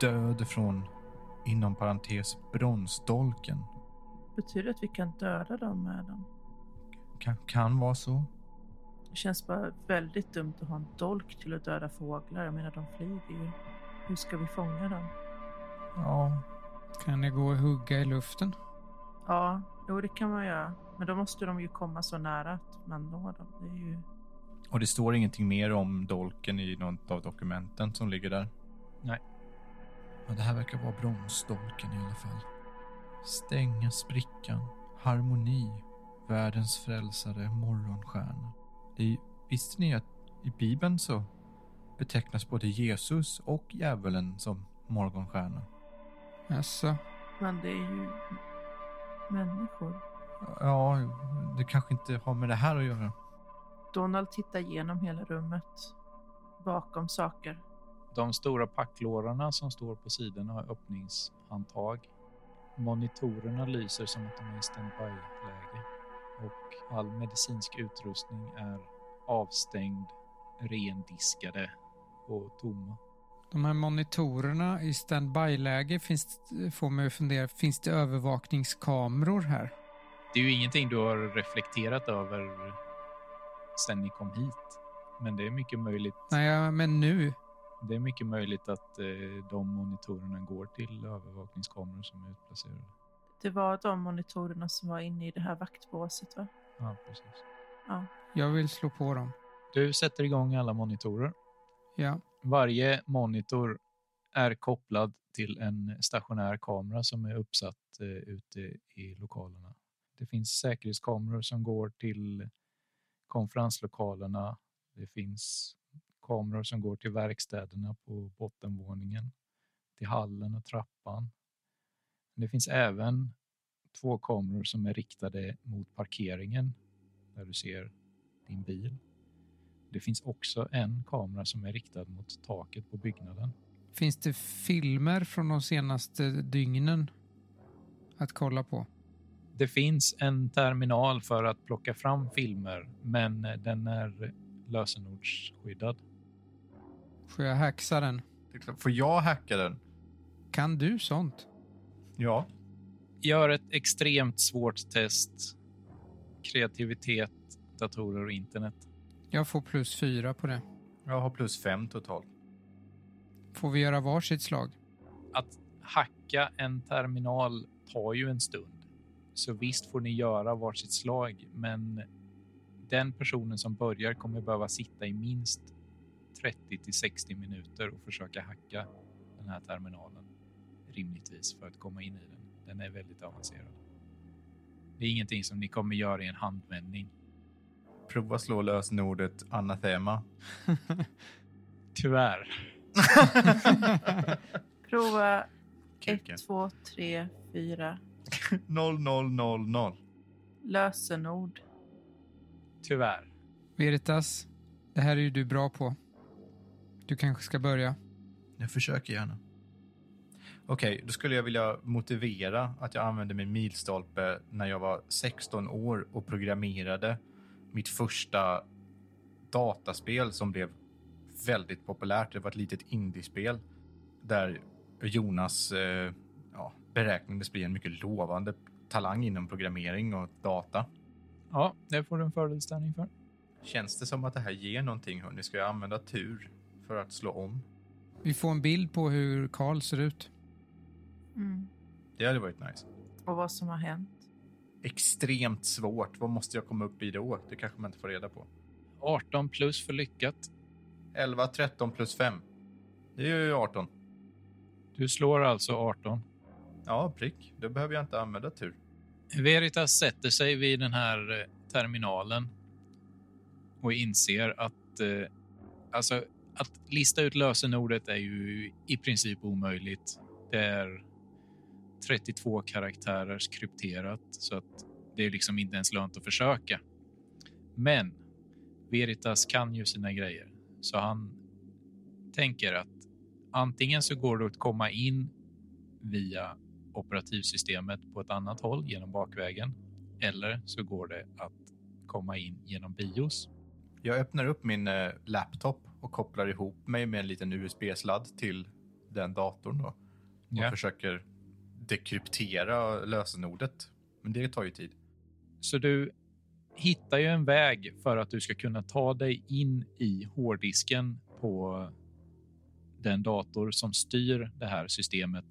Speaker 1: Död från, inom parentes, bronsdolken.
Speaker 2: Betyder det att vi kan döda dem med den?
Speaker 1: Kan, kan vara så.
Speaker 2: Det känns bara väldigt dumt att ha en dolk till att döda fåglar. Jag menar, de flyger ju. Hur ska vi fånga dem?
Speaker 1: Ja.
Speaker 3: Kan det gå att hugga i luften?
Speaker 2: Ja, jo det kan man göra. Men då måste de ju komma så nära att man når dem. Det är ju...
Speaker 1: Och det står ingenting mer om dolken i något av dokumenten som ligger där?
Speaker 4: Nej.
Speaker 1: Men det här verkar vara bromsdolken i alla fall. Stänga sprickan, harmoni, världens frälsare, morgonstjärna. Det är, visste ni att i Bibeln så betecknas både Jesus och djävulen som morgonstjärna?
Speaker 3: Jaså?
Speaker 2: Men det är ju människor.
Speaker 1: Ja, det kanske inte har med det här att göra.
Speaker 2: Donald tittar igenom hela rummet. Bakom saker.
Speaker 4: De stora packlårarna som står på sidorna har öppningshandtag. Monitorerna lyser som att de är i standby-läge och all medicinsk utrustning är avstängd, rendiskade och tomma.
Speaker 3: De här monitorerna i standby-läge finns, får mig att fundera, finns det övervakningskameror här?
Speaker 4: Det är ju ingenting du har reflekterat över sen ni kom hit, men det är mycket möjligt.
Speaker 3: Nej, ja, men nu.
Speaker 4: Det är mycket möjligt att eh, de monitorerna går till övervakningskameror som är utplacerade.
Speaker 2: Det var de monitorerna som var inne i det här vaktbåset va?
Speaker 4: Ja, precis.
Speaker 3: Jag vill slå på dem.
Speaker 4: Du sätter igång alla monitorer.
Speaker 3: Ja.
Speaker 4: Varje monitor är kopplad till en stationär kamera som är uppsatt eh, ute i lokalerna. Det finns säkerhetskameror som går till konferenslokalerna. Det finns kameror som går till verkstäderna på bottenvåningen, till hallen och trappan. Det finns även två kameror som är riktade mot parkeringen där du ser din bil. Det finns också en kamera som är riktad mot taket på byggnaden.
Speaker 3: Finns det filmer från de senaste dygnen att kolla på?
Speaker 4: Det finns en terminal för att plocka fram filmer, men eh, den är lösenordsskyddad.
Speaker 3: Får jag hacksa den?
Speaker 1: Det är klart. Får jag hacka den?
Speaker 3: Kan du sånt?
Speaker 1: Ja.
Speaker 4: Gör ett extremt svårt test. Kreativitet, datorer och internet.
Speaker 3: Jag får plus fyra på det.
Speaker 1: Jag har plus fem totalt.
Speaker 3: Får vi göra varsitt slag?
Speaker 4: Hacka en terminal tar ju en stund, så visst får ni göra varsitt slag, men den personen som börjar kommer behöva sitta i minst 30 till 60 minuter och försöka hacka den här terminalen rimligtvis för att komma in i den. Den är väldigt avancerad. Det är ingenting som ni kommer göra i en handvändning.
Speaker 1: Prova slå lösenordet anathema.
Speaker 4: Tyvärr.
Speaker 2: Prova
Speaker 1: Kuken.
Speaker 2: 1, 2, 3, 4.
Speaker 1: Noll noll noll noll.
Speaker 2: Lösenord.
Speaker 4: Tyvärr.
Speaker 3: Veritas, det här är ju du bra på. Du kanske ska börja.
Speaker 1: Jag försöker gärna. Okej, då skulle jag vilja motivera att jag använde min milstolpe när jag var 16 år och programmerade mitt första dataspel som blev väldigt populärt. Det var ett litet indiespel där Jonas eh, ja, beräknades bli en mycket lovande talang inom programmering och data.
Speaker 4: Ja, det får du en fördelställning för.
Speaker 1: Känns det som att det här ger någonting? Hörni? Ska jag använda tur för att slå om?
Speaker 3: Vi får en bild på hur Karl ser ut.
Speaker 2: Mm.
Speaker 1: Det hade varit nice.
Speaker 2: Och vad som har hänt.
Speaker 1: extremt svårt. Vad måste jag komma upp i då? Det kanske man inte får reda på.
Speaker 4: 18 plus för lyckat.
Speaker 1: 11, 13 plus 5. Det är ju 18.
Speaker 4: Du slår alltså 18.
Speaker 1: Ja, prick. Då behöver jag inte använda tur.
Speaker 4: Veritas sätter sig vid den här eh, terminalen och inser att, eh, alltså, att lista ut lösenordet är ju i princip omöjligt. Det är 32 karaktärers krypterat så att det är liksom inte ens lönt att försöka. Men Veritas kan ju sina grejer så han tänker att antingen så går det att komma in via operativsystemet på ett annat håll genom bakvägen eller så går det att komma in genom BIOS.
Speaker 1: Jag öppnar upp min eh, laptop och kopplar ihop mig med en liten USB-sladd till den datorn då. Och
Speaker 4: Ja.
Speaker 1: försöker dekryptera lösenordet. Men det tar ju tid.
Speaker 4: Så du hittar ju en väg för att du ska kunna ta dig in i hårddisken på den dator som styr det här systemet.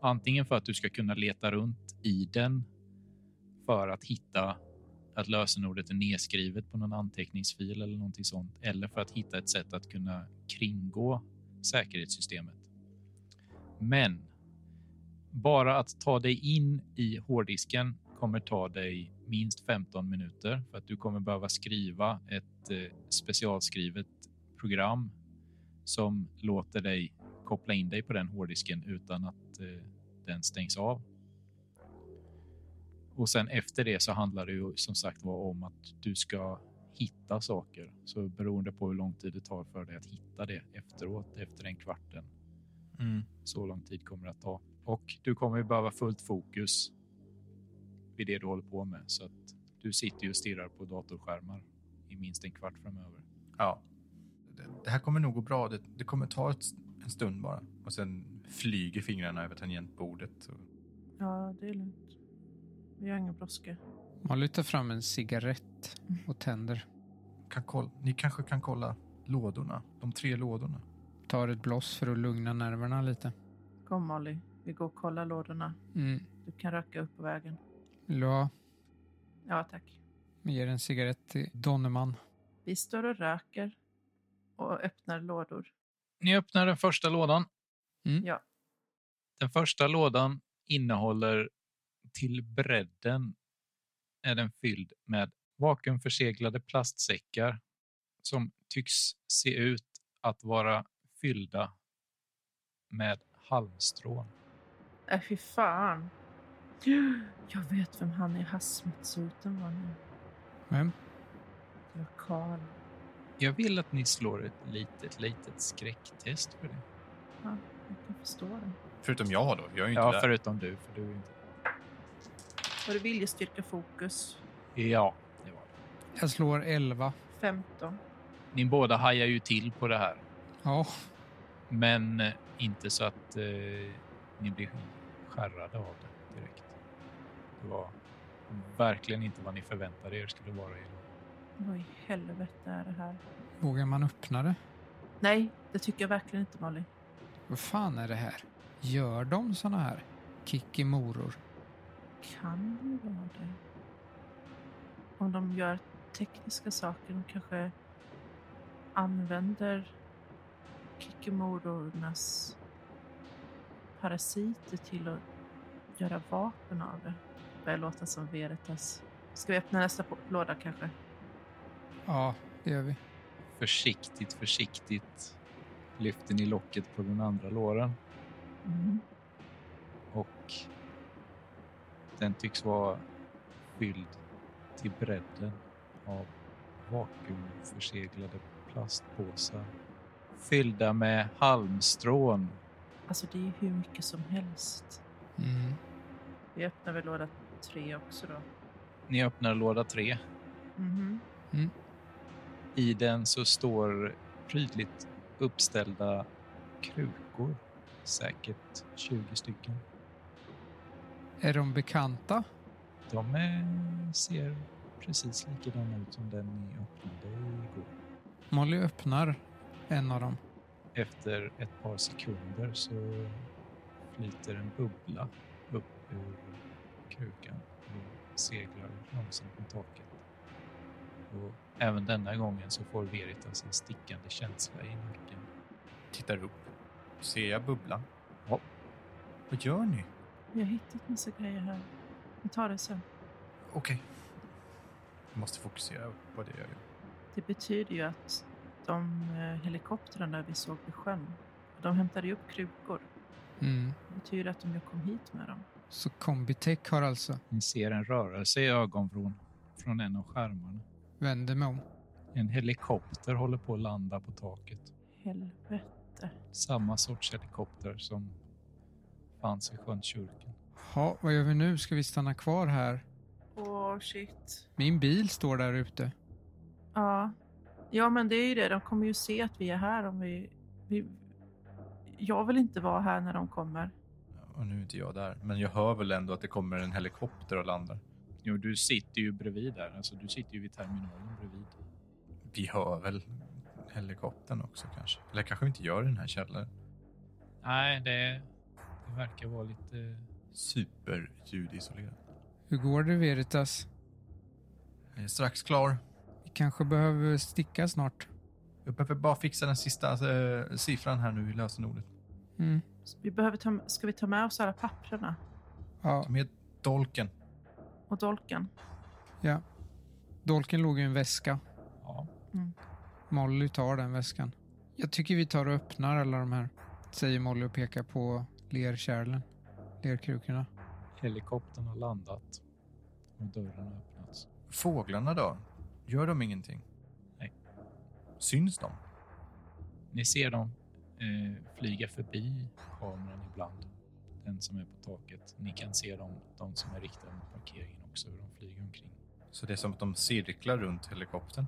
Speaker 4: Antingen för att du ska kunna leta runt i den för att hitta att lösenordet är nedskrivet på någon anteckningsfil eller någonting sånt. Eller för att hitta ett sätt att kunna kringgå säkerhetssystemet. Men bara att ta dig in i hårddisken kommer ta dig minst 15 minuter för att du kommer behöva skriva ett eh, specialskrivet program som låter dig koppla in dig på den hårddisken utan att eh, den stängs av. Och sen efter det så handlar det ju som sagt var om att du ska hitta saker. Så beroende på hur lång tid det tar för dig att hitta det efteråt, efter den kvarten,
Speaker 1: Mm.
Speaker 4: så lång tid kommer det att ta. Och du kommer ju behöva fullt fokus vid det du håller på med. Så att du sitter ju och stirrar på datorskärmar i minst en kvart framöver.
Speaker 1: Ja. Det- Det här kommer nog gå bra. Det, det kommer ta ett, en stund bara. Och sen flyger fingrarna över tangentbordet. Och,
Speaker 2: Ja, det är lugnt. Vi har ingen brådska.
Speaker 3: Man lutar fram en cigarett och tänder.
Speaker 1: kan koll, ni kanske kan kolla lådorna. De tre lådorna.
Speaker 3: Tar ett bloss för att lugna nerverna lite.
Speaker 2: Kom Molly, vi går och kollar lådorna.
Speaker 3: Mm.
Speaker 2: Du kan röka upp på vägen.
Speaker 3: Vill du ha?
Speaker 2: Ja, tack.
Speaker 3: Ger en cigarett till Donnerman.
Speaker 2: Vi står och röker och öppnar lådor.
Speaker 4: Ni öppnar den första lådan.
Speaker 3: Mm.
Speaker 2: Ja.
Speaker 4: Den första lådan innehåller till bredden är den fylld med vakuumförseglade plastsäckar som tycks se ut att vara fyllda med halmstrån.
Speaker 2: Äh, fy fan. Jag vet vem han i hassmutsoten var nu.
Speaker 3: Vem?
Speaker 2: Det var Karl.
Speaker 4: Jag vill att ni slår ett litet, litet skräcktest för det.
Speaker 2: Jag kan förstå det.
Speaker 1: Förutom jag då. Jag är ju inte
Speaker 4: Ja,
Speaker 1: där.
Speaker 4: förutom du, för du är ju inte...
Speaker 2: Var det viljestyrka fokus?
Speaker 4: Ja, det var det.
Speaker 3: Jag slår 11.
Speaker 2: 15.
Speaker 4: Ni båda hajar ju till på det här.
Speaker 3: Ja,
Speaker 4: Men eh, inte så att eh, ni blir skärrade av det direkt. Det var verkligen inte vad ni förväntade er skulle vara. i det.
Speaker 2: Vad i helvete är det här?
Speaker 3: vågar man öppna det?
Speaker 2: Nej, det tycker jag verkligen inte Molly.
Speaker 3: Vad fan är det här? Gör de såna här kickimoror?
Speaker 2: Kan ju vara det. Om de gör tekniska saker, de kanske använder kikimorornas parasiter till att göra vapen av det. Börjar låta som Veritas. Ska vi öppna nästa på- låda kanske?
Speaker 3: Ja, det gör vi.
Speaker 4: Försiktigt, försiktigt lyfter ni locket på den andra låren
Speaker 2: Mm.
Speaker 4: och den tycks vara fylld till bredden av vakuumförseglade plastpåsar fyllda med halmstrån
Speaker 2: Alltså det är ju hur mycket som helst.
Speaker 3: Mm.
Speaker 2: Vi öppnar väl låda tre också då.
Speaker 4: Ni öppnar låda tre.
Speaker 2: Mhm.
Speaker 4: I den så står prydligt uppställda krukor. Säkert 20 stycken.
Speaker 3: Är de bekanta?
Speaker 4: De eh, ser precis likadana ut som den ni öppnade igår.
Speaker 3: Molly öppnar en av dem.
Speaker 4: Efter ett par sekunder så flyter en bubbla upp ur krukan och seglar långsamt mot taket. Och även denna gången så får Veritas en stickande känsla i nacken.
Speaker 1: Tittar upp. Ser jag bubblan?
Speaker 4: Ja.
Speaker 1: Vad gör ni?
Speaker 2: Vi har hittat massa grejer här. Vi tar det sen.
Speaker 1: Okej. Jag måste fokusera på det jag gör.
Speaker 2: Det betyder ju att de eh, helikoptrarna vi såg vid sjön, de hämtade ju upp krukor.
Speaker 3: Mm.
Speaker 2: Det betyder att de ju kom hit med dem.
Speaker 3: Så Combitech har alltså
Speaker 4: Ni ser en rörelse i ögonvrån från en av skärmarna.
Speaker 3: vänder mig om.
Speaker 4: En helikopter håller på att landa på taket.
Speaker 2: Helvete.
Speaker 4: Samma sorts helikopter som fanns vid Skönkyrkan.
Speaker 3: Ja, vad gör vi nu? Ska vi stanna kvar här?
Speaker 2: Åh, shit.
Speaker 3: Min bil står där ute.
Speaker 2: Ja. ja, men det är ju det. De kommer ju se att vi är här om vi... vi... Jag vill inte vara här när de kommer.
Speaker 1: Och nu är inte jag där. Men jag hör väl ändå att det kommer en helikopter och landar.
Speaker 4: Jo, du sitter ju bredvid där. Alltså, du sitter ju vid terminalen bredvid.
Speaker 1: Vi hör väl helikoptern också kanske. Eller kanske vi inte gör i den här källaren.
Speaker 4: Nej, det, det verkar vara lite...
Speaker 1: Superljudisolerad.
Speaker 3: Hur går det Veritas?
Speaker 1: Jag är strax klar.
Speaker 3: Vi kanske behöver sticka snart.
Speaker 1: Jag behöver bara fixa den sista eh, siffran här nu i lösenordet.
Speaker 3: Mm.
Speaker 2: Så Vi behöver ta, ska vi ta med oss alla papprena
Speaker 3: Ja,
Speaker 1: Ta med dolken.
Speaker 2: och dolken?
Speaker 3: ja. Dolken låg i en väska.
Speaker 4: Ja,
Speaker 3: Molly tar den väskan. Jag tycker vi tar och öppnar alla de här, säger Molly och pekar på lerkärlen, lerkrukorna.
Speaker 4: helikoptern har landat och dörren har öppnats.
Speaker 1: Fåglarna då? Gör de ingenting?
Speaker 4: Nej.
Speaker 1: Syns de?
Speaker 4: Ni ser dem eh, flyga förbi kameran ibland. Den som är på taket. Ni kan se dem, de som är riktade mot parkeringen också, hur de flyger omkring.
Speaker 1: Så det är som att de cirklar runt helikoptern?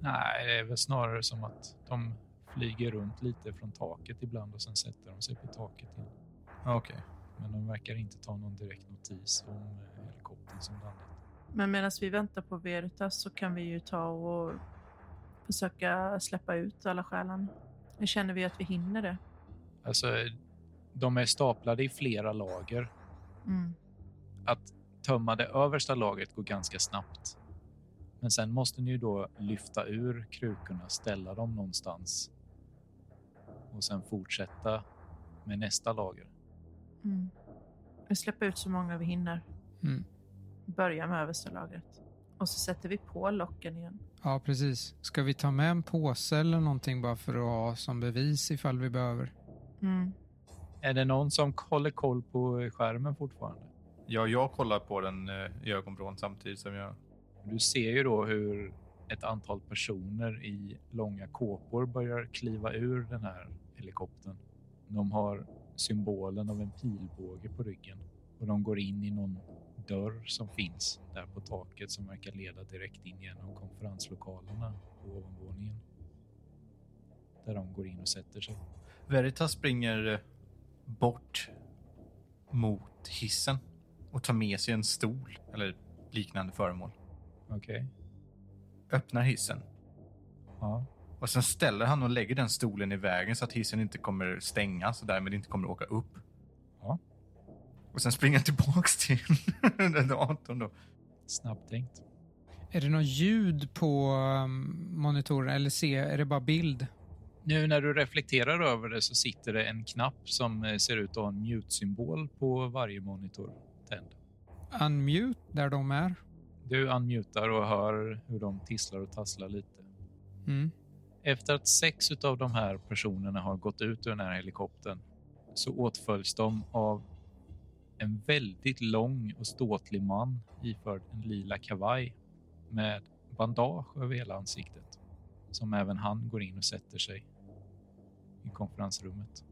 Speaker 4: Nej, det är väl snarare som att de flyger runt lite från taket ibland och sen sätter de sig på taket igen.
Speaker 1: Ah, Okej.
Speaker 4: Men de verkar inte ta någon direkt notis om eh, helikoptern som landat.
Speaker 2: Men medan vi väntar på Veritas så kan vi ju ta och försöka släppa ut alla själarna. Nu känner vi att vi hinner det.
Speaker 4: Alltså, de är staplade i flera lager.
Speaker 2: Mm.
Speaker 4: Att tömma det översta lagret går ganska snabbt. Men sen måste ni ju då lyfta ur krukorna, ställa dem någonstans och sen fortsätta med nästa lager.
Speaker 2: Mm. Vi släpper ut så många vi hinner.
Speaker 3: Mm.
Speaker 2: Börja med översta lagret. Och så sätter vi på locken igen.
Speaker 3: Ja, precis. Ska vi ta med en påse eller någonting bara för att ha som bevis ifall vi behöver?
Speaker 2: Mm.
Speaker 4: Är det någon som håller koll på skärmen fortfarande?
Speaker 1: Ja, jag kollar på den eh, i ögonvrån samtidigt som jag...
Speaker 4: Du ser ju då hur ett antal personer i långa kåpor börjar kliva ur den här helikoptern. De har symbolen av en pilbåge på ryggen och de går in i någon dörr som finns där på taket som verkar leda direkt in genom konferenslokalerna på ovanvåningen. Där de går in och sätter sig.
Speaker 1: Veritas springer eh, bort mot hissen och tar med sig en stol eller liknande föremål.
Speaker 4: Okej.
Speaker 1: Öppnar hissen
Speaker 4: Ja.
Speaker 1: och sen ställer han och lägger den stolen i vägen så att hissen inte kommer stängas och därmed inte kommer åka upp.
Speaker 4: Ja.
Speaker 1: Och sen springer han tillbaks till den datorn då.
Speaker 4: Snabbtänkt.
Speaker 3: Är det något ljud på um, monitoren eller se, är det bara bild?
Speaker 4: Nu när du reflekterar över det så sitter det en knapp som eh, ser ut att ha en mute-symbol på varje monitor tänd.
Speaker 3: Unmute där de är.
Speaker 4: Du unmutar och hör hur de tisslar och tasslar lite.
Speaker 3: Mm.
Speaker 4: Efter att sex av de här personerna har gått ut ur den här helikoptern så åtföljs de av en väldigt lång och ståtlig man iförd en lila kavaj med bandage över hela ansiktet. Som även han går in och sätter sig i konferensrummet.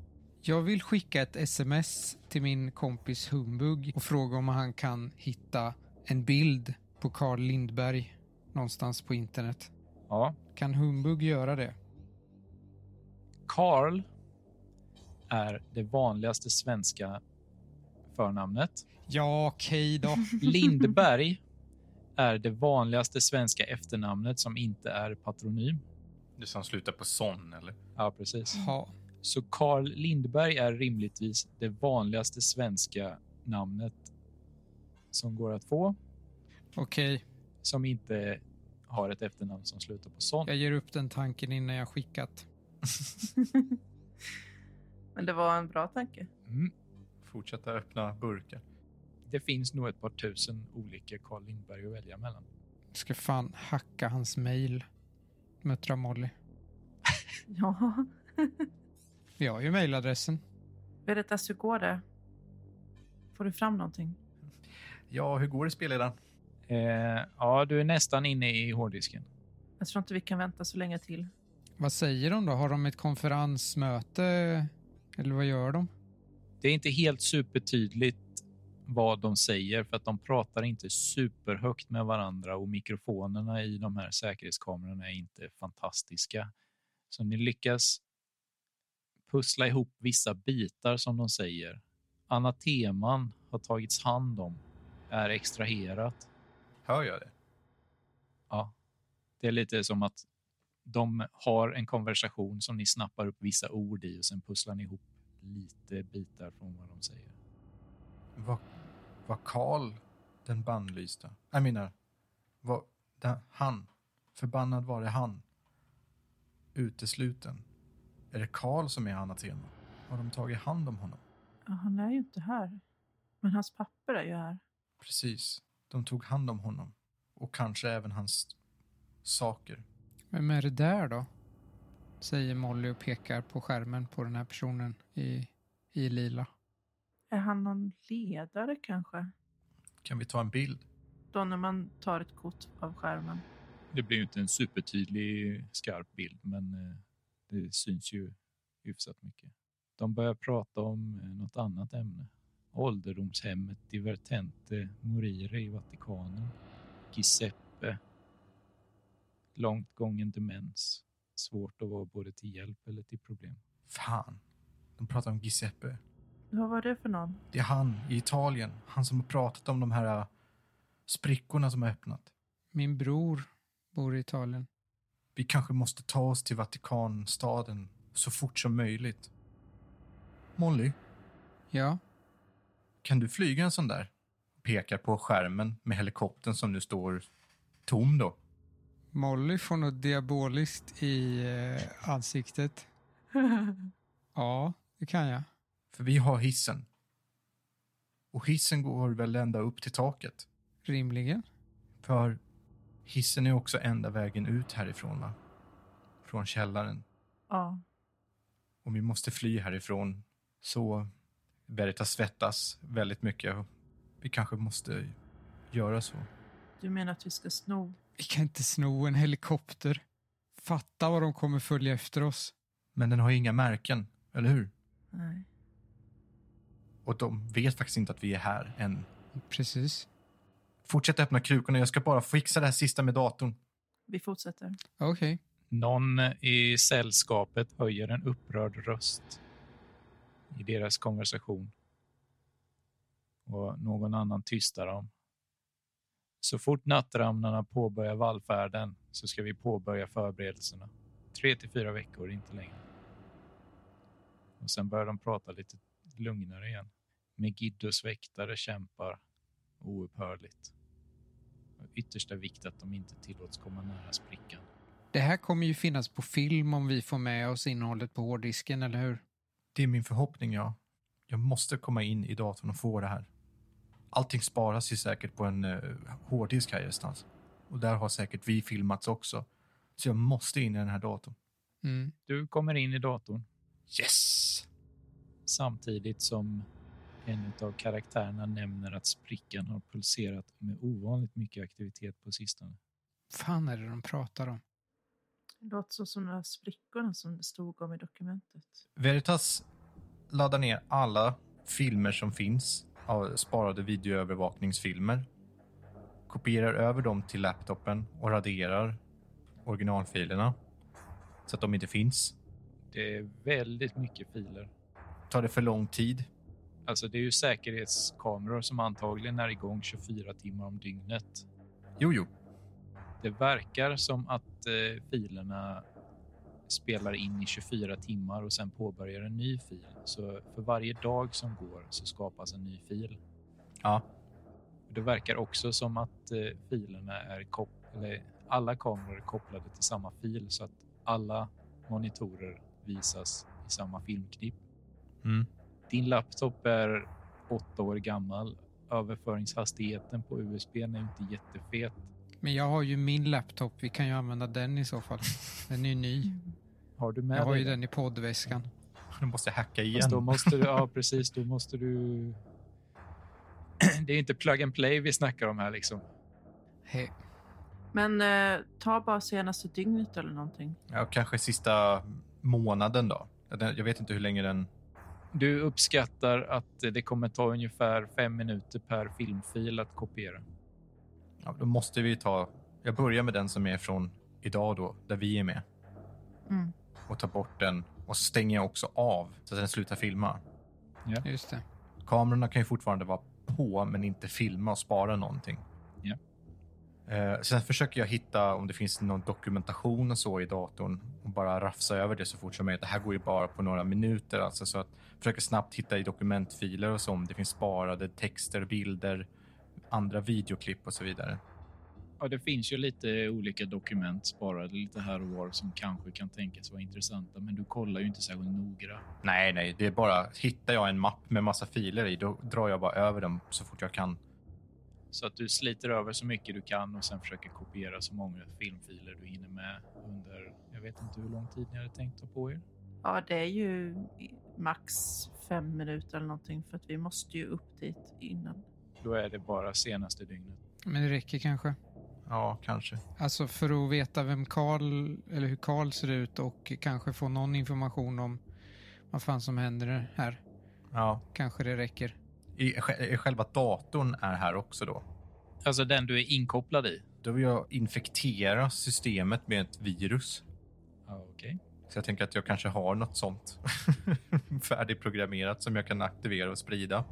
Speaker 3: Jag vill skicka ett sms till min kompis Humbug och fråga om han kan hitta en bild på Carl Lindberg någonstans på internet.
Speaker 4: Ja,
Speaker 3: Kan Humbug göra det?
Speaker 4: Karl är det vanligaste svenska förnamnet.
Speaker 3: Ja, okej då.
Speaker 4: Lindberg är det vanligaste svenska efternamnet som inte är patronym.
Speaker 1: Det som slutar på son eller?
Speaker 4: Ja, precis.
Speaker 3: Ja.
Speaker 4: Så Karl Lindberg är rimligtvis det vanligaste svenska namnet som går att få,
Speaker 3: Okej,
Speaker 4: som inte har ett efternamn som slutar på son.
Speaker 3: jag ger upp den tanken innan jag skickat.
Speaker 2: Men det var en bra tanke.
Speaker 4: Mm.
Speaker 1: Fortsätta öppna burkar.
Speaker 4: Det finns nog ett par tusen olika Karl Lindberg att välja mellan.
Speaker 3: Ska fan hacka hans mail, muttrar Molly.
Speaker 2: Ja.
Speaker 3: Vi har ju mailadressen.
Speaker 2: Veritas, hur går det? Får du fram någonting?
Speaker 1: Ja, hur går det spelledaren?
Speaker 4: Eh, ja, du är nästan inne i hårddisken.
Speaker 2: Jag tror inte vi kan vänta så länge till.
Speaker 3: Vad säger de då? Har de ett konferensmöte? Eller vad gör de?
Speaker 4: Det är inte helt supertydligt vad de säger för att de pratar inte superhögt med varandra och mikrofonerna i de här säkerhetskamerorna är inte fantastiska. Så ni lyckas pussla ihop vissa bitar som de säger. Anateman har tagits hand om, är extraherat.
Speaker 1: Hör jag det?
Speaker 4: Ja, det är lite som att de har en konversation som ni snappar upp vissa ord i och sen pusslar ni ihop lite bitar från vad de säger.
Speaker 1: Vad, vad Karl den bannlysta. Jag menar, vad, den, han. Förbannad var det han. Utesluten. Är det Karl som är anatema? Har de tagit hand om honom?
Speaker 2: Ja, han är ju inte här. Men hans papper är ju här.
Speaker 1: Precis. De tog hand om honom. Och kanske även hans saker.
Speaker 3: Vem är det där då? Säger Molly och pekar på skärmen på den här personen i, i lila.
Speaker 2: Är han någon ledare kanske?
Speaker 1: Kan vi ta en bild?
Speaker 2: Då när man tar ett kort av skärmen.
Speaker 4: Det blir ju inte en supertydlig skarp bild, men eh, det syns ju hyfsat mycket. De börjar prata om eh, något annat ämne. Ålderdomshemmet Divertente Morire i Vatikanen. Giuseppe. Långt gången demens. Svårt att vara både till hjälp eller till problem.
Speaker 1: Fan. De pratar om Giuseppe.
Speaker 2: Vad var det för någon?
Speaker 1: Det är han i Italien. Han som har pratat om de här äh, sprickorna som har öppnat.
Speaker 3: Min bror bor i Italien.
Speaker 1: Vi kanske måste ta oss till Vatikanstaden så fort som möjligt. Molly,
Speaker 3: Ja,
Speaker 1: kan du flyga en sån där? Pekar på skärmen med helikoptern som nu står tom då.
Speaker 3: Molly får något diaboliskt i eh, ansiktet. Ja, det kan jag.
Speaker 1: För vi har hissen. Och hissen går väl ända upp till taket.
Speaker 3: Rimligen.
Speaker 1: För hissen är också enda vägen ut härifrån va? Från källaren.
Speaker 2: ja.
Speaker 1: och vi måste fly härifrån. Så Veritas svettas väldigt mycket. Vi kanske måste göra så.
Speaker 2: Du menar att vi ska sno?
Speaker 3: Vi kan inte sno en helikopter. Fatta vad de kommer följa efter oss.
Speaker 1: Men den har ju inga märken, eller hur?
Speaker 2: Nej.
Speaker 1: Och de vet faktiskt inte att vi är här än.
Speaker 3: Precis.
Speaker 1: Fortsätt öppna krukorna. Jag ska bara fixa det här sista med datorn.
Speaker 2: Vi fortsätter.
Speaker 3: Okej.
Speaker 4: Någon i sällskapet höjer en upprörd röst i deras konversation. Och någon annan tystar dem. Så fort nattramlarna påbörjar vallfärden så ska vi påbörja förberedelserna. Tre till fyra veckor, inte längre. Och sen börjar de prata lite lugnare igen. Megiddos väktare kämpar oupphörligt. Av yttersta vikt att de inte tillåts komma nära sprickan.
Speaker 3: Det här kommer ju finnas på film om vi får med oss innehållet på hårddisken, eller hur?
Speaker 1: Det är min förhoppning, ja. Jag måste komma in i datorn och få det här. Allting sparas ju säkert på en uh, hårddisk här någonstans. Och där har säkert vi filmats också. Så jag måste in i den här datorn.
Speaker 3: Mm.
Speaker 4: Du kommer in i datorn
Speaker 1: Yes!
Speaker 4: samtidigt som en av karaktärerna nämner att sprickan har pulserat med ovanligt mycket aktivitet på sistone.
Speaker 3: fan är det de pratar om?
Speaker 2: Det låter så som de här sprickorna som det stod om i dokumentet.
Speaker 1: Veritas laddar ner alla filmer som finns av sparade videoövervakningsfilmer. Kopierar över dem till laptopen och raderar originalfilerna så att de inte finns.
Speaker 4: Det är väldigt mycket filer.
Speaker 1: Tar det för lång tid?
Speaker 4: Alltså det är ju säkerhetskameror som antagligen är igång 24 timmar om dygnet.
Speaker 1: Jo, jo.
Speaker 4: Det verkar som att eh, filerna spelar in i 24 timmar och sen påbörjar en ny fil. Så för varje dag som går så skapas en ny fil.
Speaker 1: Ja.
Speaker 4: Det verkar också som att eh, filerna är kop- eller alla kameror är kopplade till samma fil så att alla monitorer visas i samma filmklipp.
Speaker 1: Mm.
Speaker 4: Din laptop är åtta år gammal. Överföringshastigheten på USB är inte jättefet.
Speaker 3: Men jag har ju min laptop, vi kan ju använda den i så fall. Den är ju ny.
Speaker 4: Har du
Speaker 3: Jag
Speaker 4: med
Speaker 3: har
Speaker 4: dig
Speaker 3: ju den i poddväskan.
Speaker 1: De måste hacka
Speaker 4: Fast då
Speaker 1: igen.
Speaker 4: måste du, ja precis, då måste du... Det är inte plug and play vi snackar om här liksom.
Speaker 3: He-
Speaker 2: Men eh, ta bara senaste dygnet eller någonting.
Speaker 1: Ja, kanske sista månaden då. Jag vet inte hur länge den...
Speaker 4: Du uppskattar att det kommer ta ungefär fem minuter per filmfil att kopiera.
Speaker 1: Ja, då måste vi ta... Jag börjar med den som är från idag då, där vi är med.
Speaker 2: Mm.
Speaker 1: Och tar bort den och stänger också av så att den slutar filma.
Speaker 3: Just det.
Speaker 1: Kamerorna kan ju fortfarande vara på, men inte filma och spara någonting.
Speaker 4: Ja.
Speaker 1: Eh, sen försöker jag hitta om det finns någon dokumentation och så i datorn och bara rafsa över det så fort som möjligt. Det här går ju bara på några minuter, alltså, så att försöker snabbt hitta i dokumentfiler och så om det finns sparade texter, bilder, andra videoklipp och så vidare.
Speaker 4: Ja, det finns ju lite olika dokument sparade lite här och var som kanske kan tänkas vara intressanta, men du kollar ju inte särskilt noga.
Speaker 1: Nej, nej, det är bara hittar jag en mapp med massa filer i, då drar jag bara över dem så fort jag kan.
Speaker 4: Så att du sliter över så mycket du kan och sen försöker kopiera så många filmfiler du hinner med under, jag vet inte hur lång tid ni hade tänkt ta på er.
Speaker 2: Ja, det är ju max fem minuter eller någonting för att vi måste ju upp dit innan.
Speaker 4: Då är det bara senaste dygnet.
Speaker 3: Men det räcker kanske.
Speaker 1: Ja, kanske.
Speaker 3: Alltså för att veta vem Karl, eller hur Karl ser ut och kanske få någon information om vad fan som händer här.
Speaker 1: Ja.
Speaker 3: Kanske det räcker.
Speaker 1: I, i själva datorn är här också då.
Speaker 4: Alltså den du är inkopplad i?
Speaker 1: Då vill jag infektera systemet med ett virus.
Speaker 4: Ja, okej.
Speaker 1: Så jag tänker att jag kanske har något sånt färdigprogrammerat som jag kan aktivera och sprida.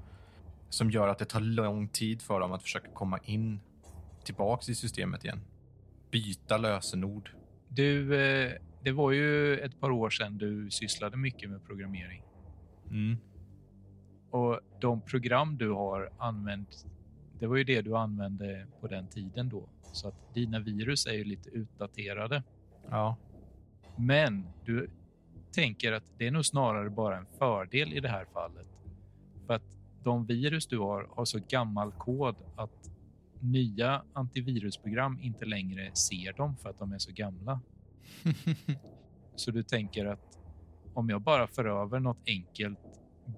Speaker 1: Som gör att det tar lång tid för dem att försöka komma in tillbaks i systemet igen. Byta lösenord.
Speaker 4: Du, eh, det var ju ett par år sedan du sysslade mycket med programmering
Speaker 1: Mm.
Speaker 4: och de program du har använt, det var ju det du använde på den tiden då. Så att dina virus är ju lite utdaterade.
Speaker 1: Ja.
Speaker 4: Men du tänker att det är nog snarare bara en fördel i det här fallet. För att de virus du har har så gammal kod att nya antivirusprogram inte längre ser dem för att de är så gamla. Så du tänker att om jag bara för över något enkelt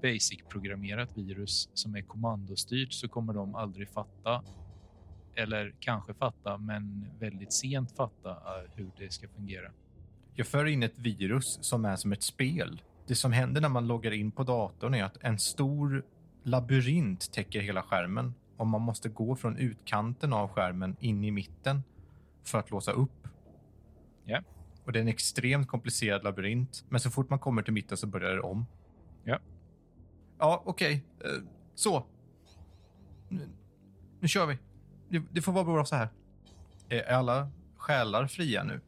Speaker 4: basic-programmerat virus som är kommandostyrt så kommer de aldrig fatta eller kanske fatta, men väldigt sent fatta eh, hur det ska fungera.
Speaker 1: Jag för in ett virus som är som ett spel. Det som händer när man loggar in på datorn är att en stor labyrint täcker hela skärmen och man måste gå från utkanten av skärmen in i mitten för att låsa upp.
Speaker 4: Ja.
Speaker 1: Och det är en extremt komplicerad labyrint, men så fort man kommer till mitten så börjar det om.
Speaker 4: Ja.
Speaker 1: Ja, okej. Eh, Så. Nu, nu kör vi. Det, det får vara bra så här. Är alla själar fria nu?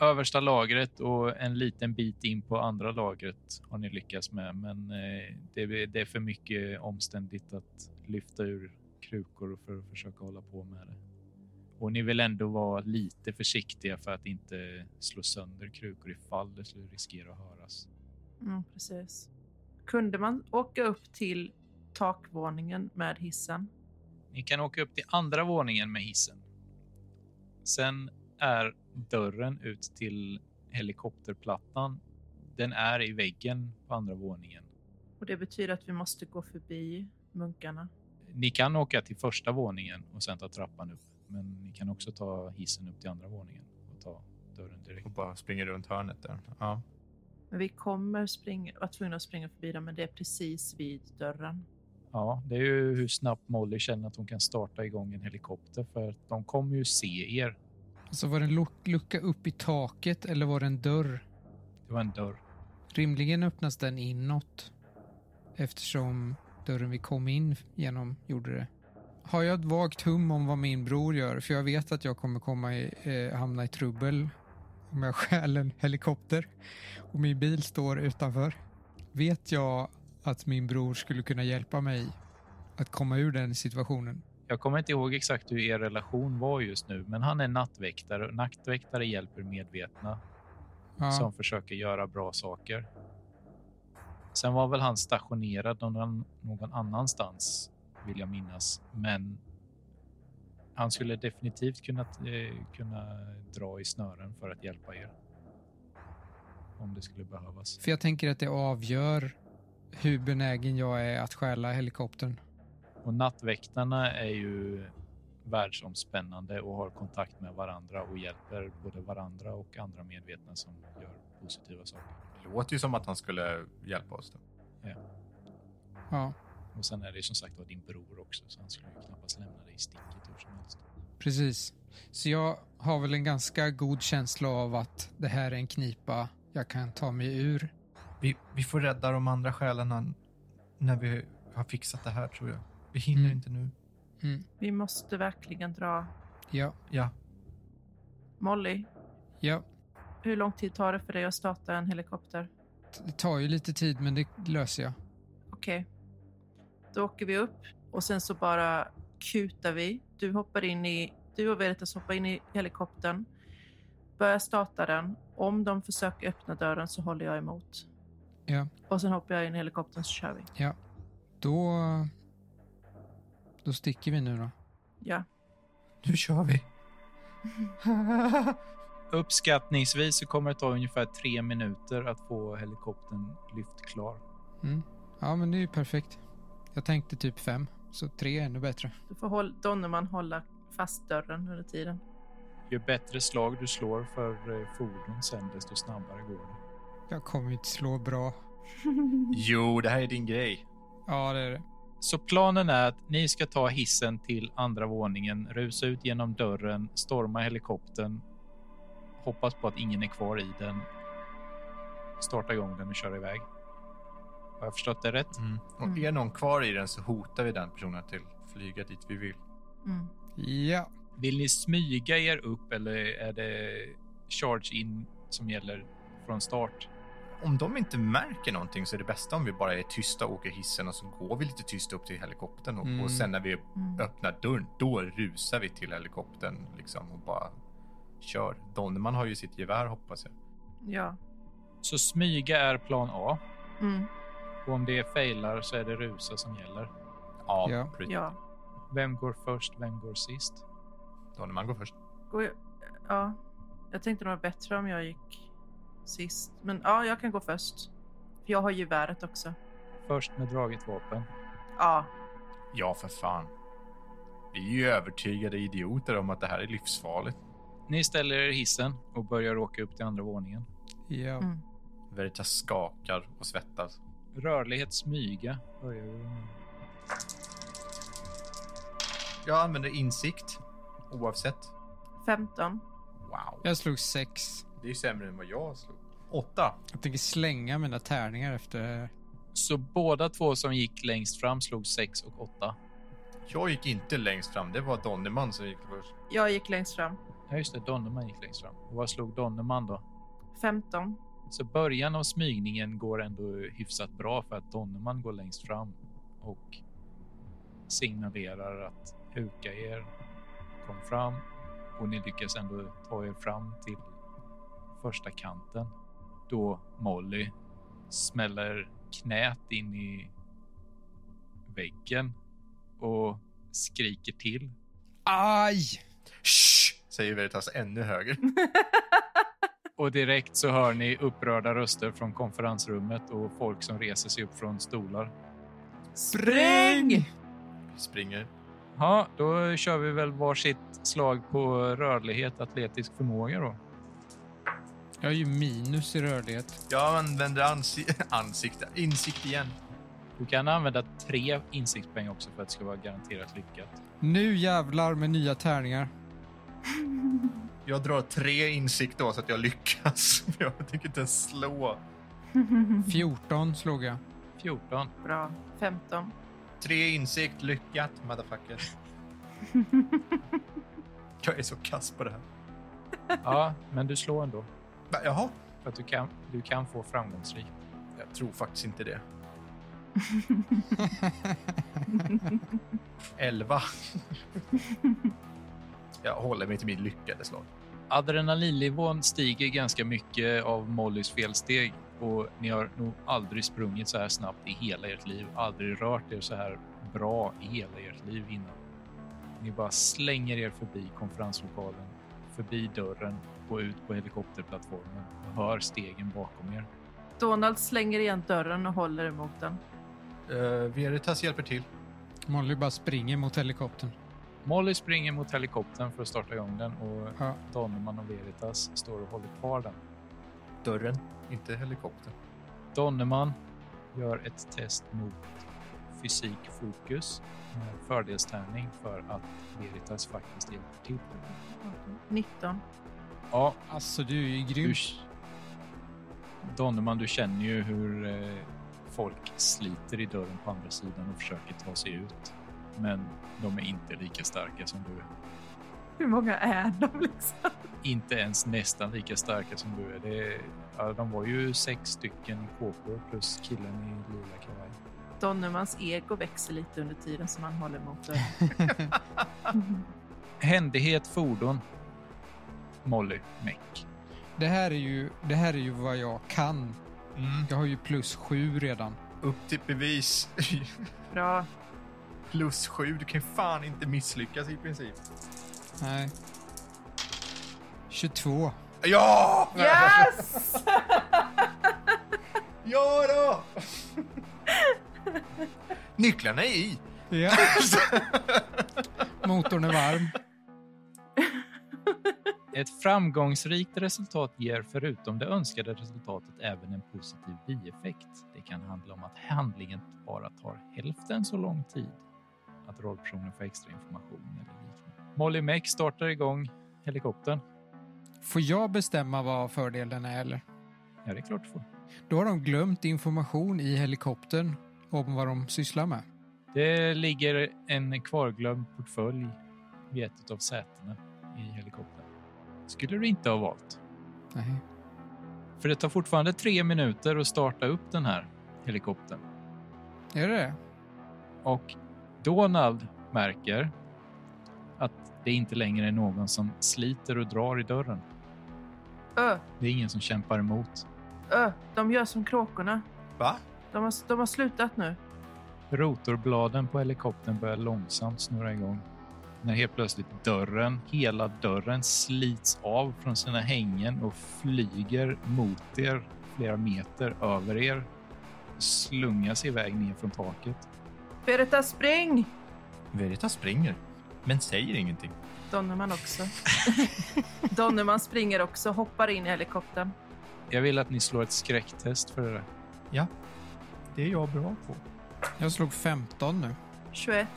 Speaker 4: översta lagret och en liten bit in på andra lagret har ni lyckats med, men eh, det, det är för mycket omständigt att lyfta ur krukor för att försöka hålla på med det. Och ni vill ändå vara lite försiktiga för att inte slå sönder krukor ifall det skulle riskera att höras.
Speaker 2: Mm, precis. Kunde man åka upp till takvåningen med hissen?
Speaker 4: Ni kan åka upp till andra våningen med hissen. Sen är dörren ut till helikopterplattan. Den är i väggen på andra våningen.
Speaker 2: Och det betyder att vi måste gå förbi munkarna.
Speaker 4: Ni kan åka till första våningen och sen ta trappan upp, men ni kan också ta hissen upp till andra våningen och ta dörren direkt.
Speaker 1: och bara springer runt hörnet där. Ja.
Speaker 2: Men vi kommer springa, vara tvungna att springa förbi dem, men det är precis vid dörren.
Speaker 4: Ja, det är ju hur snabbt Molly känner att hon kan starta igång en helikopter för att de kommer ju se er.
Speaker 3: Alltså var det en luck- lucka upp i taket eller var det en dörr?
Speaker 4: Det var en dörr.
Speaker 3: Rimligen öppnas den inåt eftersom dörren vi kom in genom gjorde det. Har jag ett vagt hum om vad min bror gör? För jag vet att jag kommer komma i, eh, hamna i trubbel om jag stjäl en helikopter och min bil står utanför. Vet jag att min bror skulle kunna hjälpa mig att komma ur den situationen?
Speaker 4: Jag kommer inte ihåg exakt hur er relation var just nu, men han är nattväktare och nattväktare hjälper medvetna
Speaker 3: Ja.
Speaker 4: som försöker göra bra saker. Sen var väl han stationerad någon, någon annanstans, vill jag minnas. Men han skulle definitivt kunna, eh, kunna dra i snören för att hjälpa er. Om det skulle behövas.
Speaker 3: För jag tänker att det avgör hur benägen jag är att stjäla helikoptern.
Speaker 4: Och nattväktarna är ju världsomspännande och har kontakt med varandra och hjälper både varandra och andra medvetna som gör positiva saker.
Speaker 1: Det låter ju som att han skulle hjälpa oss. Då.
Speaker 3: Ja,
Speaker 4: Och sen är det ju som sagt var din bror också, så han skulle ju knappast lämna dig i sticket hur som helst.
Speaker 3: precis. Så jag har väl en ganska god känsla av att det här är en knipa jag kan ta mig ur.
Speaker 1: Vi, vi får rädda de andra själarna när vi har fixat det här, tror jag. Vi hinner
Speaker 3: Mm.
Speaker 1: inte nu.
Speaker 2: Vi måste verkligen dra.
Speaker 3: Ja,
Speaker 1: Ja,
Speaker 2: Molly,
Speaker 3: ja.
Speaker 2: hur lång tid tar det för dig att starta en helikopter?
Speaker 3: Det tar ju lite tid, men det löser jag.
Speaker 2: Okej. Då åker vi upp och sen så bara kutar vi. Du hoppar in i, du och Veritas hoppar in i helikoptern. Börjar starta den. Om de försöker öppna dörren så håller jag emot.
Speaker 3: Ja.
Speaker 2: Och sen hoppar jag in i helikoptern så kör vi.
Speaker 3: Då... Då sticker vi nu då.
Speaker 2: Ja.
Speaker 1: Nu kör vi.
Speaker 4: Uppskattningsvis så kommer det ta ungefär tre minuter att få helikoptern lyft klar.
Speaker 3: Mm. Ja, men det är ju perfekt. Jag tänkte typ fem, så tre är ännu bättre.
Speaker 2: Du får håll, Donnerman hålla fast dörren under tiden.
Speaker 4: Ju bättre slag du slår för eh, fordon sen, desto snabbare går det.
Speaker 3: Jag kommer inte slå bra.
Speaker 1: Jo, det här är din grej.
Speaker 3: Ja, det är det.
Speaker 4: Så planen är att ni ska ta hissen till andra våningen, rusa ut genom dörren, storma helikoptern, hoppas på att ingen är kvar i den, starta igång den och köra iväg. Har jag förstått det rätt?
Speaker 1: Och
Speaker 3: Mm.
Speaker 1: är någon kvar i den så hotar vi den personen till flyga dit vi vill.
Speaker 2: Mm.
Speaker 3: Ja.
Speaker 4: Vill ni smyga er upp eller är det charge in som gäller från start?
Speaker 1: Om de inte märker någonting så är det bästa om vi bara är tysta och åker hissen och så går vi lite tyst upp till helikoptern och,
Speaker 3: Mm.
Speaker 1: och sen när vi
Speaker 2: Mm.
Speaker 1: öppnar dörren, då rusar vi till helikoptern liksom och bara kör. Donnerman har ju sitt gevär hoppas jag.
Speaker 2: Ja.
Speaker 4: Så smyga är plan A
Speaker 2: Mm.
Speaker 4: och om det failar så är det rusa som gäller.
Speaker 1: Ja,
Speaker 3: Ja.
Speaker 1: precis.
Speaker 2: Ja.
Speaker 4: Vem går först? Vem går sist?
Speaker 1: Donnerman går först.
Speaker 2: Går jag, eh, ja. Jag tänkte det var bättre om jag gick sist. Men ja, jag kan gå först. För jag har geväret också.
Speaker 4: Först med draget vapen.
Speaker 2: Ja.
Speaker 1: Ja, för fan. Vi är ju övertygade idioter om att det här är livsfarligt.
Speaker 4: Ni ställer er i hissen och börjar åka upp till andra våningen.
Speaker 3: Ja.
Speaker 2: Mm.
Speaker 1: Veritas skakar och svettas.
Speaker 4: Rörlighet smyga börjar vi med.
Speaker 1: Jag använder insikt oavsett.
Speaker 2: 15.
Speaker 1: Wow.
Speaker 3: Jag slog sex.
Speaker 1: Det är ju sämre än vad jag slog. Åtta.
Speaker 3: Jag tänker slänga mina tärningar efter det här.
Speaker 4: Så båda två som gick längst fram slog 6 och 8.
Speaker 1: Jag gick inte längst fram. Det var Donnerman som gick först.
Speaker 2: Jag gick längst fram.
Speaker 4: Ja, just det. Donnerman gick längst fram. Och vad slog Donnerman då?
Speaker 2: 15.
Speaker 4: Så början av smygningen går ändå hyfsat bra för att Donnerman går längst fram och signalerar att huka er, kom fram och ni lyckas ändå ta er fram till första kanten då Molly smäller knät in i väggen och skriker till.
Speaker 3: Aj!
Speaker 1: Shh! Säger Veritas ännu högre.
Speaker 4: Och direkt så hör ni upprörda röster från konferensrummet och folk som reser sig upp från stolar.
Speaker 2: Spring!
Speaker 1: Springer.
Speaker 4: Ja, då kör vi väl varsitt slag på rörlighet, atletisk förmåga då.
Speaker 3: Jag har ju minus i rörlighet.
Speaker 1: Jag använder ansi- ansikte. Insikt igen.
Speaker 4: Du kan använda tre insiktspoäng också för att det ska vara garanterat lyckat.
Speaker 3: Nu jävlar med nya tärningar.
Speaker 1: Jag drar tre insikt då så att jag lyckas. Jag tänker inte ens slå.
Speaker 3: 14 slog jag.
Speaker 4: 14.
Speaker 2: Bra. 15.
Speaker 1: Tre insikt, lyckat, motherfucker. jag är så kass på det här.
Speaker 4: Ja, men du slår ändå.
Speaker 1: Va, Jaha.
Speaker 4: För att du kan, du kan få framgångsrik.
Speaker 1: Jag tror faktiskt inte det. Elva. jag håller mig till min lyckade slag.
Speaker 4: Adrenalinnivån stiger ganska mycket av Mollys felsteg och ni har nog aldrig sprungit så här snabbt i hela ert liv. Aldrig rört er så här bra i hela ert liv innan. Ni bara slänger er förbi konferenslokalen, förbi dörren och ut på helikopterplattformen och hör stegen bakom er.
Speaker 2: Donald slänger igen dörren och håller emot den.
Speaker 1: Eh, Veritas hjälper till.
Speaker 3: Molly bara springer mot helikoptern.
Speaker 4: Molly springer mot helikoptern för att starta igång den och
Speaker 3: Ja.
Speaker 4: Donnerman och Veritas står och håller kvar den.
Speaker 1: Dörren, inte helikoptern.
Speaker 4: Donnerman gör ett test mot fysikfokus med fördelstärning för att Veritas faktiskt hjälper till.
Speaker 2: 19.
Speaker 4: Ja,
Speaker 3: Alltså, du är ju grym.
Speaker 4: du, Donnerman, du känner ju hur eh, folk sliter i dörren på andra sidan och försöker ta sig ut. Men de är inte lika starka som du. är.
Speaker 2: Hur många är de liksom?
Speaker 4: Inte ens nästan lika starka som du är. Det, är- ja, de var ju sex stycken kåpor plus killen i lila kavaj.
Speaker 2: Donnermans ego växer lite under tiden som han håller mot dörren.
Speaker 4: Händighet, fordon. Molly, meck.
Speaker 3: Det här är ju, det här är ju vad jag kan.
Speaker 1: Mm.
Speaker 3: Jag har ju plus sju redan.
Speaker 1: Upp till bevis.
Speaker 2: Bra.
Speaker 1: Plus sju. Du kan ju fan inte misslyckas i princip.
Speaker 3: Nej. 22.
Speaker 1: Ja!
Speaker 2: Yes!
Speaker 1: Ja då! Nycklarna är i.
Speaker 3: Ja. Motorn är varm.
Speaker 4: Ett framgångsrikt resultat ger förutom det önskade resultatet även en positiv bieffekt. Det kan handla om att handlingen bara tar hälften så lång tid. Att rollpersonen får extra information eller liknande. Molly Meck startar igång helikoptern.
Speaker 3: Får jag bestämma vad fördelen är eller?
Speaker 4: Ja, det är klart du får.
Speaker 3: Då har de glömt information i helikoptern om vad de sysslar med.
Speaker 4: Det ligger en kvarglömd portfölj vid ett av sätena i helikoptern. Skulle du inte ha valt?
Speaker 3: Nej.
Speaker 4: För det tar fortfarande tre minuter att starta upp den här helikoptern.
Speaker 3: Är det det?
Speaker 4: Och Donald märker att det inte längre är någon som sliter och drar i dörren.
Speaker 2: Ö,
Speaker 4: Det är ingen som kämpar emot.
Speaker 2: ö, de gör som kråkorna.
Speaker 1: Va?
Speaker 2: De har, de har slutat nu.
Speaker 4: Rotorbladen på helikoptern börjar långsamt snurra igång. När helt plötsligt dörren, hela dörren slits av från sina hängen och flyger mot er flera meter över er. Slungas iväg ner från taket.
Speaker 2: Beretta, spring!
Speaker 1: Verita springer, men säger ingenting.
Speaker 2: Donnerman också. Donnerman springer också, hoppar in i helikoptern.
Speaker 4: Jag vill att ni slår ett skräcktest för det där.
Speaker 1: Det är jag bra på.
Speaker 3: Jag slog 15 nu.
Speaker 2: 21.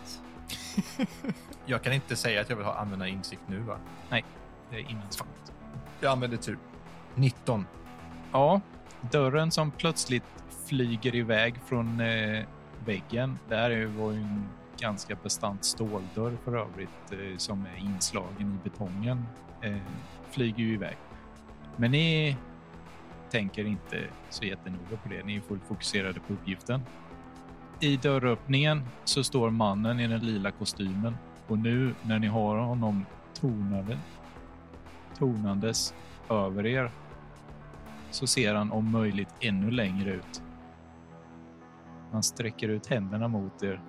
Speaker 1: Jag kan inte säga att jag vill ha använda insikt nu, va?
Speaker 4: Det är innan svaret.
Speaker 1: Jag använder tur. 19.
Speaker 4: Ja, dörren som plötsligt flyger iväg från eh, väggen. Det här är ju- var ju en ganska bestant ståldörr för övrigt eh, som är inslagen i betongen. Eh, flyger ju iväg. Men ni tänker inte så jättenoga på det. Ni är fullt fokuserade på uppgiften. I dörröppningen så står mannen i den lila kostymen och nu när ni har honom tonade, tonandes över er så ser han om möjligt ännu längre ut. Han sträcker ut händerna mot er.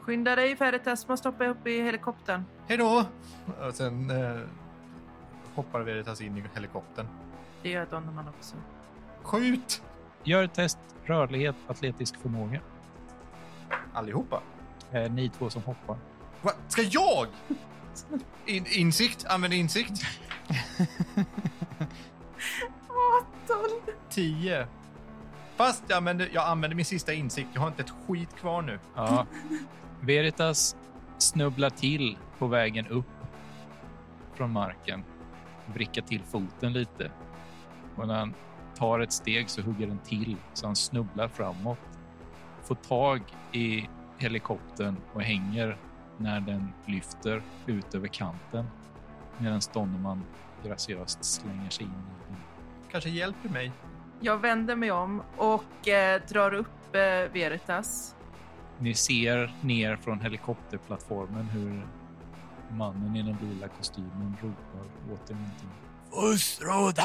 Speaker 2: Skynda dig Veritas, man stoppar upp i helikoptern.
Speaker 1: Hej då! Och sen eh, hoppar Veritas in i helikoptern.
Speaker 2: Det gör Donnerman också.
Speaker 1: Skjut!
Speaker 4: Gör ett test rörlighet, atletisk förmåga.
Speaker 1: Allihopa.
Speaker 4: Eh, ni två som hoppar.
Speaker 1: Va? Ska jag? In, insikt? Använd insikt. 10. Fast jag använder, jag använder min sista insikt. Jag har inte ett skit kvar nu.
Speaker 4: Ja. Veritas snubblar till på vägen upp från marken. Vrickar till foten lite. Och när han tar ett steg så hugger den till så han snubblar framåt. Får tag i helikoptern och hänger när den lyfter ut över kanten. Medan Donnerman graciöst slänger sig in i den.
Speaker 1: Kanske hjälper mig.
Speaker 2: Jag vänder mig om och eh, drar upp eh, Veritas.
Speaker 4: Ni ser ner från helikopterplattformen hur mannen i den lila kostymen ropar åt er någonting. Fustrota!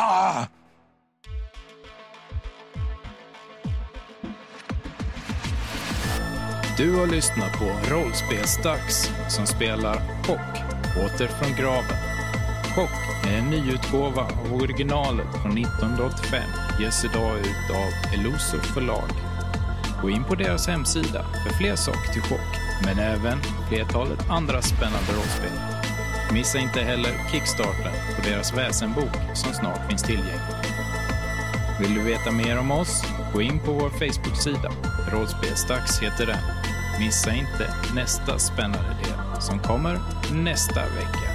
Speaker 5: Du har lyssnat på Rollspelsdags som spelar Chock, åter från graven. Chock är en nyutgåva av originalet från 1985. Ges idag ut av Eloso förlag. Gå in på deras hemsida för fler saker till Chock, men även flertalet andra spännande rollspel. Missa inte heller Kickstarten på deras väsenbok som snart finns tillgänglig. Vill du veta mer om oss? Gå in på vår Facebook-sida. Rollspelsdags heter den. Missa inte nästa spännande del som kommer nästa vecka.